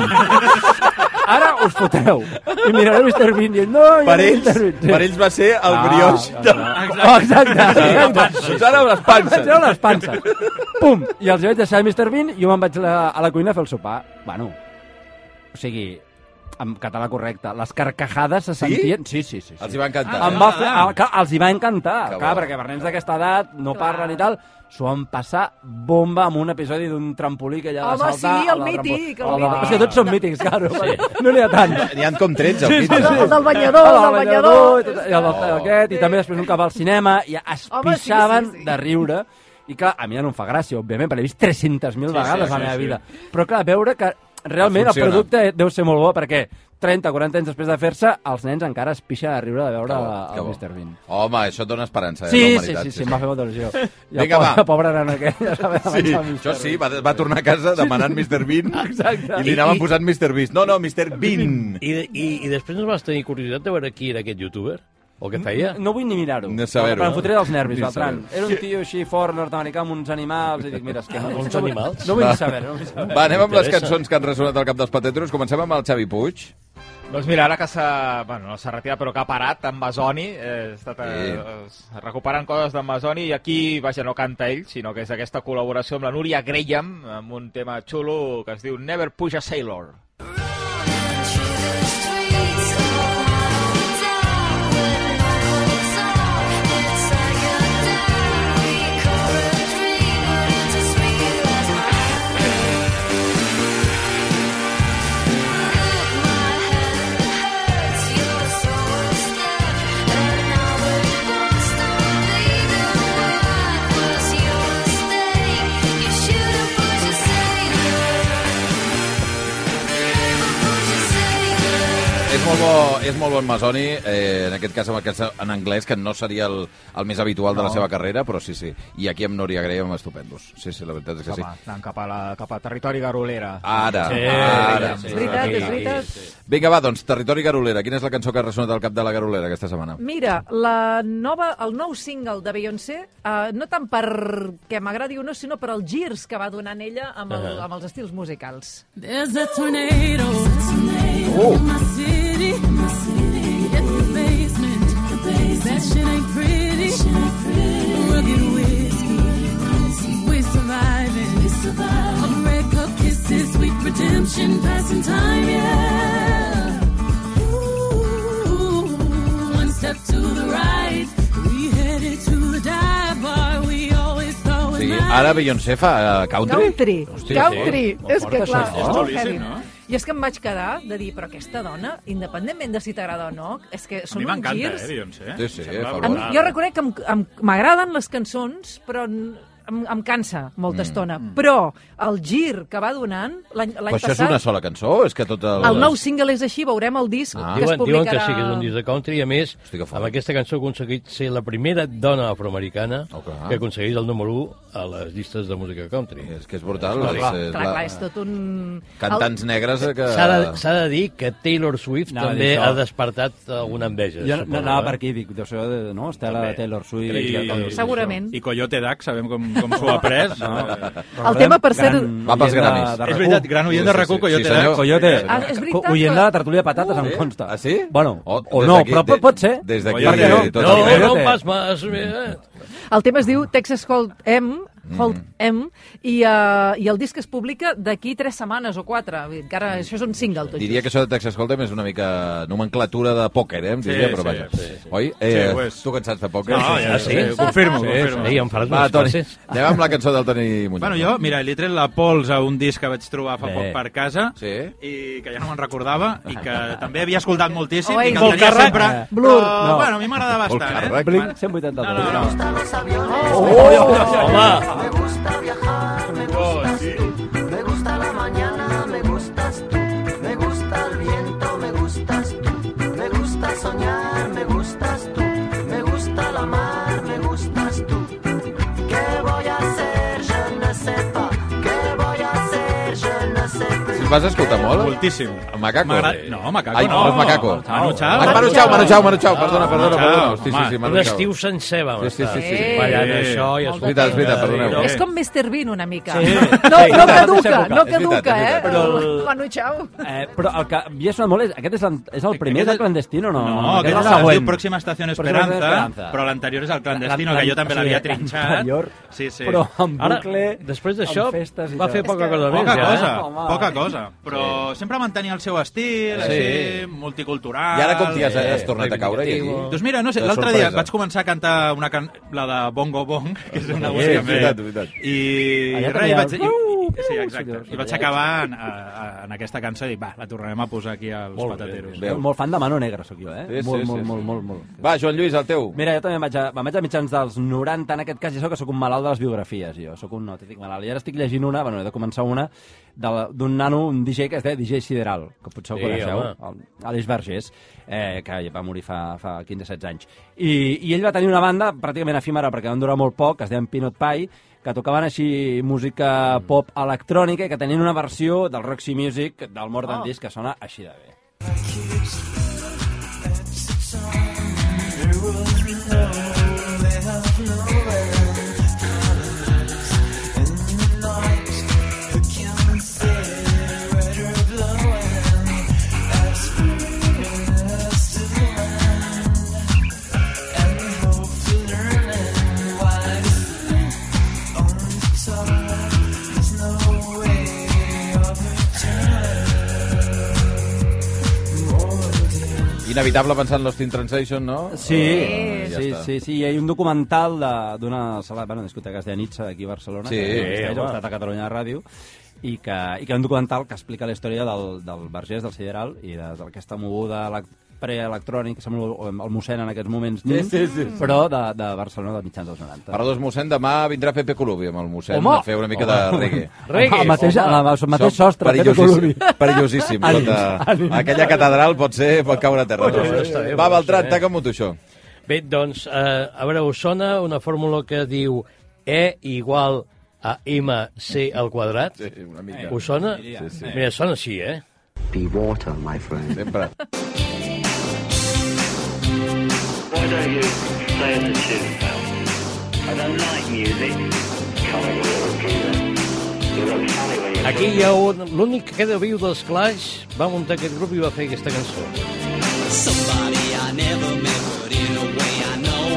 Speaker 6: Ara us fotreu. I mirareu Mr. Bean i diu, no, jo
Speaker 2: Per
Speaker 6: no
Speaker 2: ells,
Speaker 6: Mr. Bean. Sí.
Speaker 2: per ells va ser el
Speaker 6: Ah,
Speaker 2: brioix
Speaker 6: ah,
Speaker 2: de...
Speaker 6: ah, Exacte. exacte.
Speaker 2: Doncs ara amb les panses.
Speaker 6: Mengeu les panses. Pum! I els vaig deixar a Mr. Bean i jo me'n vaig la, a la cuina a fer el sopar. Bueno, o sigui, en català correcte, les carcajades se sentien... Sí, sí, sí. sí.
Speaker 2: Els hi va encantar.
Speaker 6: Em va fer, el, clar, els hi va encantar,
Speaker 2: Que bo.
Speaker 6: clar, perquè per nens d'aquesta edat no
Speaker 3: Clar.
Speaker 6: parlen i tal, s'ho van passar bomba amb un episodi d'un trampolí que allà
Speaker 3: Home,
Speaker 6: de saltar...
Speaker 3: sí, el
Speaker 6: a la trampol-
Speaker 3: mític, el
Speaker 6: a la-
Speaker 3: mític.
Speaker 6: És que tots són mítics, claro, no n'hi ha tants.
Speaker 2: N'hi ha com 13 al
Speaker 6: Sí,
Speaker 2: mig.
Speaker 6: sí, sí.
Speaker 3: El del banyador, el
Speaker 6: Ah,
Speaker 3: del banyador.
Speaker 6: i, tot, i el del
Speaker 2: Oh.
Speaker 6: aquest, i també després un cap al cinema, i es
Speaker 3: Home, sí,
Speaker 6: pixaven
Speaker 3: sí, sí.
Speaker 6: de riure. I clar, a mi ja no em fa gràcia, òbviament, perquè l'he vist 300.000
Speaker 4: Sí,
Speaker 6: vegades
Speaker 4: sí,
Speaker 6: a la
Speaker 4: sí,
Speaker 6: meva
Speaker 4: sí.
Speaker 6: vida. Però clar, veure que realment el
Speaker 2: Funciona.
Speaker 6: producte deu ser molt bo, perquè 30, 40 anys després de fer-se, els nens encara es pixa de riure de veure
Speaker 2: Que
Speaker 6: el
Speaker 2: bo.
Speaker 6: Mr. Bean.
Speaker 2: Home, això et dona esperança, eh, a la
Speaker 6: Sí, sí,
Speaker 2: humanitat.
Speaker 6: sí, sí, em va fer molta il·lusió. I el
Speaker 2: Vinga,
Speaker 6: pobre,
Speaker 2: va.
Speaker 6: pobre nano aquell, ja s'ha
Speaker 2: Sí,
Speaker 6: d'avançar
Speaker 2: això sí, va, va tornar a casa demanant Mr. Bean
Speaker 6: Exacte.
Speaker 2: i li anaven posant Mr. Beast. No, no, Mr. Bean.
Speaker 1: I, i, I després no vas tenir curiositat de veure qui era aquest youtuber? O què feia?
Speaker 2: Mm,
Speaker 6: No vull ni mirar-ho.
Speaker 2: Ni saber-ho,
Speaker 6: Però
Speaker 2: no?
Speaker 6: em fotré dels nervis,
Speaker 2: Ni
Speaker 6: Bertran. Era un tio així fort, nord-americà, amb uns animals, i dic, mira, és que... No,
Speaker 1: Uns
Speaker 6: no vull-
Speaker 1: animals?
Speaker 6: No vull saber, no vull saber.
Speaker 2: Va, anem amb les
Speaker 1: M'interessa.
Speaker 2: cançons que han ressonat al cap dels patetros. Comencem amb el Xavi Puig.
Speaker 5: Doncs mira, ara que s'ha... Bueno, no s'ha retirat, però que ha parat amb Masoni, eh, ha estat eh, eh, recuperant coses d'en Masoni, i aquí, vaja, no canta ell, sinó que és aquesta col·laboració amb la Núria Graham, amb un tema xulo que es diu Never Push a Sailor.
Speaker 8: It's
Speaker 2: bo, és molt bon Masoni, eh, en aquest cas amb aquest, en anglès, que no seria el, el més habitual no. de la seva carrera, però sí, sí. I aquí amb Núria Grey, amb estupendos. Sí, sí, la veritat és que sí. Ah!
Speaker 5: Anant cap a, la, cap a territori garolera.
Speaker 1: Eh,
Speaker 2: Ara,
Speaker 5: Sí,
Speaker 2: ara.
Speaker 5: sí,
Speaker 3: És veritat, és veritat.
Speaker 2: Vinga, va, doncs, Territori Garolera. Quina és la cançó que ha ressonat al cap de la Garolera aquesta setmana?
Speaker 3: Mira, la nova, el nou single de Beyoncé, eh, no tant per que m'agradi o no, sinó per els girs que va donant ella amb, el, amb els estils musicals.
Speaker 8: There's a tornado. In my city. In the basement. That shit ain't pretty. Rugged whiskey. We're surviving. A red cup kisses, sweet redemption, passing time, yeah. Ooh, one step to the right. We headed to the dive bar. We always thought was
Speaker 2: Sí,
Speaker 8: nice.
Speaker 2: ara Beyoncé fa eh, country?
Speaker 3: Country,
Speaker 1: Hòstia,
Speaker 3: country.
Speaker 1: sí. Molt
Speaker 3: és que
Speaker 1: fort,
Speaker 3: clar, és
Speaker 1: això.
Speaker 4: És
Speaker 3: molt
Speaker 4: duríssim,
Speaker 3: heavy.
Speaker 4: no?
Speaker 3: I és que em vaig quedar de dir, però aquesta dona, independentment de si t'agrada o no, és que
Speaker 4: A
Speaker 3: són
Speaker 4: mi
Speaker 3: uns
Speaker 4: m'encanta,
Speaker 3: girs...
Speaker 4: eh, Beyoncé.
Speaker 2: Sí, sí,
Speaker 4: Sembla
Speaker 2: fa
Speaker 3: A mi,
Speaker 2: Bravo.
Speaker 3: jo reconec que em- em- m'agraden les cançons, però n- em, em cansa molta estona. Però el gir que va donant l'any
Speaker 2: Però
Speaker 3: l'any
Speaker 2: això és una
Speaker 3: passat...
Speaker 2: sola cançó? És que tot el...
Speaker 3: El nou single és així, veurem el disc
Speaker 2: Ah.
Speaker 3: que es
Speaker 1: Diuen, diuen que
Speaker 3: publicarà...
Speaker 1: sí, que és un disc de country, i a més,
Speaker 2: Hosti, que fort.
Speaker 1: amb aquesta cançó ha aconseguit ser la primera dona afroamericana
Speaker 2: Oh, clar. Eh.
Speaker 1: que aconsegueix el número 1 a les llistes de música country.
Speaker 2: És que és brutal.
Speaker 1: Clar,
Speaker 2: és,
Speaker 1: clar,
Speaker 2: és
Speaker 3: Clar,
Speaker 2: la-
Speaker 3: clar, és tot un...
Speaker 2: Cantants negres eh, que...
Speaker 1: S'ha de, s'ha de dir que Taylor Swift
Speaker 6: Anava a
Speaker 1: també
Speaker 6: dir això.
Speaker 1: ha despertat alguna enveja.
Speaker 6: Jo
Speaker 1: suposo,
Speaker 6: anava
Speaker 1: eh?
Speaker 6: per aquí, dic, deu ser, de- no? Estela
Speaker 4: També.
Speaker 6: Taylor Swift...
Speaker 4: I,
Speaker 3: Segurament.
Speaker 4: I Coyote Duck, sabem com, com s'ho ha pres. No. Eh,
Speaker 3: El tema, per ser-
Speaker 2: Va pels Grammys.
Speaker 6: de
Speaker 4: És
Speaker 6: RAC1.
Speaker 4: veritat, gran oient
Speaker 2: Sí,
Speaker 4: de
Speaker 2: sí,
Speaker 4: RAC1,
Speaker 2: sí,
Speaker 4: Coyote
Speaker 2: sí, senyor.
Speaker 4: Duck.
Speaker 6: Coyote,
Speaker 3: Ah, és veritat,
Speaker 6: co- oient
Speaker 3: però-
Speaker 6: de la tertúlia de patates, em consta.
Speaker 2: Ah, sí?
Speaker 6: Bueno, o,
Speaker 2: des
Speaker 6: no,
Speaker 2: d'aquí-
Speaker 6: però pot,
Speaker 2: de-
Speaker 6: pot ser.
Speaker 2: Des d'aquí...
Speaker 4: Per què no?
Speaker 2: tot
Speaker 1: No,
Speaker 2: el-
Speaker 1: no
Speaker 6: Coyote.
Speaker 1: pas més. eh?
Speaker 3: El tema es diu Texas Hold M, Hold M i, uh, i el disc es publica d'aquí tres setmanes o quatre. Vull dir, Encara, això és un single, tot
Speaker 2: Diria que això de Texas Hold'em és una mica nomenclatura de pòquer, eh? Em
Speaker 4: Sí,
Speaker 2: diria, però
Speaker 4: sí,
Speaker 2: vaja.
Speaker 4: sí, sí.
Speaker 2: Oi?
Speaker 4: Sí, ho
Speaker 2: Eh,
Speaker 4: és.
Speaker 2: tu que en saps de pòquer?
Speaker 4: No, ja,
Speaker 1: sí?
Speaker 4: sí, confirmo, confirmo.
Speaker 1: Ei, em faràs
Speaker 2: Va,
Speaker 1: unes
Speaker 2: Toni,
Speaker 1: classes?
Speaker 2: anem amb la cançó del Toni Muñoz.
Speaker 4: Bueno, jo, mira, li he tret la pols a un disc que vaig trobar fa
Speaker 6: Bé.
Speaker 4: poc per casa
Speaker 2: Sí.
Speaker 4: i que ja no me'n recordava i que també havia escoltat moltíssim
Speaker 3: Oasis.
Speaker 4: i que el tenia
Speaker 6: Volcarrec.
Speaker 4: sempre...
Speaker 6: Eh.
Speaker 4: Però,
Speaker 6: No.
Speaker 4: bueno, a mi m'agradava bastant, eh?
Speaker 2: Volcarrec.
Speaker 6: Blink 182.
Speaker 4: No, no, no.
Speaker 6: Oh,
Speaker 3: Oh,
Speaker 1: Home,
Speaker 2: Si vas escoltar molt?
Speaker 4: Moltíssim.
Speaker 2: El Macaco.
Speaker 4: M'agrada- No, Macaco
Speaker 2: Ai,
Speaker 4: no.
Speaker 2: no, és Macaco.
Speaker 4: Manu Chao.
Speaker 2: Ai, Manu Chao, Manu Chao, Manu Chao, perdona, perdona,
Speaker 4: Manu Chao,
Speaker 2: perdona. Hosti, sí,
Speaker 4: home.
Speaker 2: sí, Manu
Speaker 1: un
Speaker 2: Chao.
Speaker 1: estiu sencer vam
Speaker 2: Sí, sí,
Speaker 1: estar.
Speaker 2: sí, sí.
Speaker 3: Ei.
Speaker 1: Ballant això i
Speaker 3: Molt de temps. És
Speaker 1: escoltant...
Speaker 3: veritat, és
Speaker 2: veritat, perdoneu.
Speaker 1: Eh,
Speaker 3: Eh. És com Mr. Bean, una mica.
Speaker 6: Sí.
Speaker 3: No,
Speaker 6: Sí,
Speaker 3: no
Speaker 6: clar,
Speaker 3: caduca,
Speaker 6: és
Speaker 3: no
Speaker 6: veritat,
Speaker 3: caduca,
Speaker 2: és
Speaker 3: eh?
Speaker 2: veritat.
Speaker 3: Però... Manu Chao.
Speaker 6: Eh, però el que havia sonat molt és... Aquest és, l'an- és el primer
Speaker 4: Aquest
Speaker 6: de
Speaker 4: és-
Speaker 6: clandestino, no?
Speaker 4: No,
Speaker 6: Aquest
Speaker 4: aquest
Speaker 6: és
Speaker 4: és
Speaker 6: el següent.
Speaker 4: el Pròxima Estació
Speaker 6: Pròxima Esperanza.
Speaker 4: Esperanza, però l'anterior és el Clandestino,
Speaker 6: L'an-
Speaker 4: que jo també
Speaker 6: sí,
Speaker 4: l'havia trinxat.
Speaker 6: l'anterior,
Speaker 4: Sí, sí.
Speaker 6: Però amb
Speaker 1: Ara,
Speaker 6: bucle,
Speaker 1: després d'això,
Speaker 6: amb festes i
Speaker 1: va
Speaker 6: tal.
Speaker 1: fer poca cosa més,
Speaker 4: Poca
Speaker 1: ja, eh?
Speaker 4: cosa,
Speaker 6: Home.
Speaker 4: poca cosa. Però sempre mantenia el seu estil,
Speaker 1: Sí.
Speaker 4: així, multicultural...
Speaker 2: I ara com t'hi has,
Speaker 1: Eh,
Speaker 2: has tornat a caure? I,
Speaker 1: reivindicativo.
Speaker 4: Doncs mira, no sé,
Speaker 2: De
Speaker 4: l'altre dia
Speaker 2: sorpresa.
Speaker 4: vaig començar a cantar una can... la de Bongo Bong, que és una
Speaker 2: Sí,
Speaker 4: música
Speaker 2: és
Speaker 4: més.
Speaker 2: veritat, és veritat.
Speaker 4: I,
Speaker 6: Allà
Speaker 4: i res, i
Speaker 6: tenia
Speaker 4: vaig...
Speaker 6: el-
Speaker 4: I,
Speaker 6: Uau,
Speaker 4: i, sí,
Speaker 6: uau,
Speaker 4: exacte.
Speaker 6: senyors,
Speaker 4: I vaig
Speaker 6: allà.
Speaker 4: acabar en, a, a, en aquesta cançó i dic, va, la tornarem a posar aquí als
Speaker 1: Molt bé,
Speaker 4: patateros.
Speaker 2: Déu.
Speaker 6: Molt fan de Mano Negra, sóc jo, eh?
Speaker 2: Sí, sí,
Speaker 6: molt,
Speaker 2: sí, sí.
Speaker 6: molt, molt, molt, molt, molt.
Speaker 2: Va, Joan Lluís, el teu.
Speaker 6: Mira, jo també em vaig a, me'n vaig a mitjans dels 90, en aquest cas, ja sóc que sóc un malalt de les biografies, jo. Sóc un autèntic malalt. I ara estic llegint una, bueno, he de començar una, de la- d'un nano, un DJ que es deia DJ Sideral, que potser
Speaker 1: Sí,
Speaker 6: sí, el coneixeu,
Speaker 1: home.
Speaker 6: el- Aleix Vergés, eh, que va morir fa, fa 15-16 anys. I, I ell va tenir una banda pràcticament efímera, perquè van durar molt poc, que es deien Pinot Pie, que tocaven així música
Speaker 2: Mm.
Speaker 6: pop electrònica i que tenien una versió del Roxy Music del Mort
Speaker 2: Ah.
Speaker 6: oh. Disc que sona així de bé.
Speaker 2: Inevitable pensar en Lost in Translation, no?
Speaker 6: Sí,
Speaker 2: Eh, ja
Speaker 6: sí,
Speaker 2: està.
Speaker 6: sí, sí, hi ha un documental de- d'una sala, bueno, discoteques de Nitsa aquí a Barcelona,
Speaker 2: Sí,
Speaker 6: que
Speaker 2: sí,
Speaker 6: està
Speaker 2: home.
Speaker 6: hostat a Catalunya de Ràdio, i que, i que hi ha un documental que explica la història del, del Vergés, del Sideral, i de- d'aquesta moguda elec- preelectrònic, sembla el el mossèn en aquests moments,
Speaker 2: Sí, sí, sí.
Speaker 6: però de, de Barcelona de mitjans dels 90.
Speaker 2: Paradors mossèn, demà vindrà Pepe Colubi amb el mossèn
Speaker 6: Home!
Speaker 2: a fer una mica de
Speaker 6: Home!
Speaker 2: reggae.
Speaker 6: Reggae! Home, mateix- a la- al mateix
Speaker 2: Som
Speaker 6: sostre, Pepe
Speaker 2: perillosíssim,
Speaker 6: Colubi.
Speaker 2: Perillosíssim.
Speaker 6: Ànims,
Speaker 2: tota-
Speaker 6: ànims.
Speaker 2: Aquella catedral pot ser, pot caure a terra. Doncs,
Speaker 1: Ui, això està bé,
Speaker 2: Va,
Speaker 1: bueno,
Speaker 2: Beltran,
Speaker 1: sí.
Speaker 2: taca'm-ho tu, això.
Speaker 1: Bé, doncs, eh, a veure, us sona una fórmula que diu E igual a MC al quadrat?
Speaker 2: Sí, una mica.
Speaker 1: Us sona?
Speaker 2: Sí, sí.
Speaker 1: Mira, sona així, eh?
Speaker 9: Be water, my friend.
Speaker 2: Eh, Sempre.
Speaker 10: Why don't you play us a tune, pal? I don't like music. Come on, you look either. You look funny when you're
Speaker 1: Aquí hi ha un... L'únic que queda viu dels Clash va muntar aquest grup i va fer aquesta cançó.
Speaker 8: Somebody I never met, but in a way I know.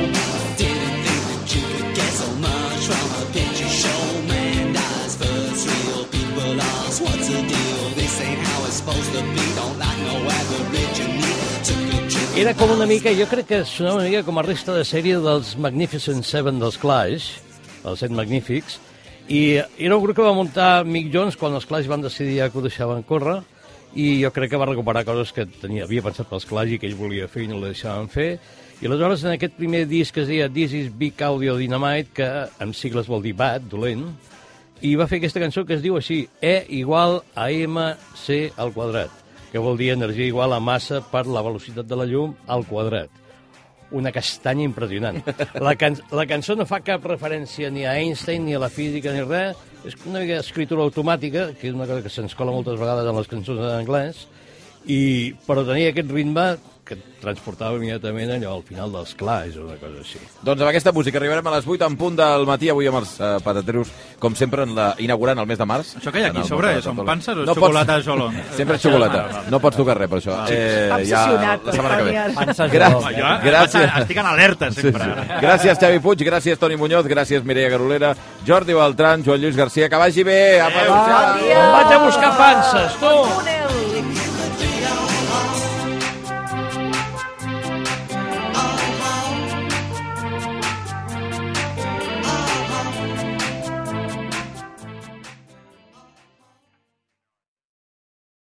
Speaker 8: Didn't think that you could get so much from a picture show. Man dies first, real people lost. What's the deal? This ain't how it's supposed to be. Don't like no aborigine. Took a trip.
Speaker 1: Era com una mica, jo crec que sonava una mica com a resta de sèrie dels Magnificent Seven dels Clash, els set magnífics, i era un grup que va muntar Mick Jones quan els Clash van decidir ja que ho deixaven córrer, i jo crec que va recuperar coses que tenia, havia pensat pels Clash i que ell volia fer i no la deixaven fer, i aleshores en aquest primer disc que es deia This is Big Audio Dynamite, que en sigles vol dir bad, dolent, i va fer aquesta cançó que es diu així, E igual a MC al quadrat, que vol dir energia igual a massa per la velocitat de la llum al quadrat. Una castanya impressionant. La, can la cançó no fa cap referència ni a Einstein, ni a la física, ni res. És una mica escritura automàtica, que és una cosa que se'ns cola moltes vegades en les cançons en anglès, i, però tenia aquest ritme que et transportava immediatament allò al final dels clars o una cosa així.
Speaker 2: Doncs amb aquesta música arribarem a les 8 en punt del matí, avui amb els eh, patatrius, com sempre, en la, inaugurant el mes de març.
Speaker 4: Això que hi ha aquí
Speaker 2: En el
Speaker 4: sobre, eh?
Speaker 2: Mortal
Speaker 4: són
Speaker 2: Tatola.
Speaker 4: panses o és xocolata Ah, Jolong?
Speaker 2: Sempre és xocolata. No pots tocar res, per això. Eh,
Speaker 3: Està obsessionat,
Speaker 2: la setmana que ve.
Speaker 3: Daniel.
Speaker 6: Penses
Speaker 2: Gra-
Speaker 6: jo.
Speaker 4: Ah. Jo eh,
Speaker 2: Gràcies.
Speaker 4: estic en alerta sempre.
Speaker 2: Gràcies, Xavi Puig, gràcies, Toni Muñoz, gràcies, Mireia Garolera, Jordi Beltran, Joan Lluís Garcia, que vagi bé. Apa, adéu-siau.
Speaker 1: Em vaig a buscar panses, tu!
Speaker 3: Una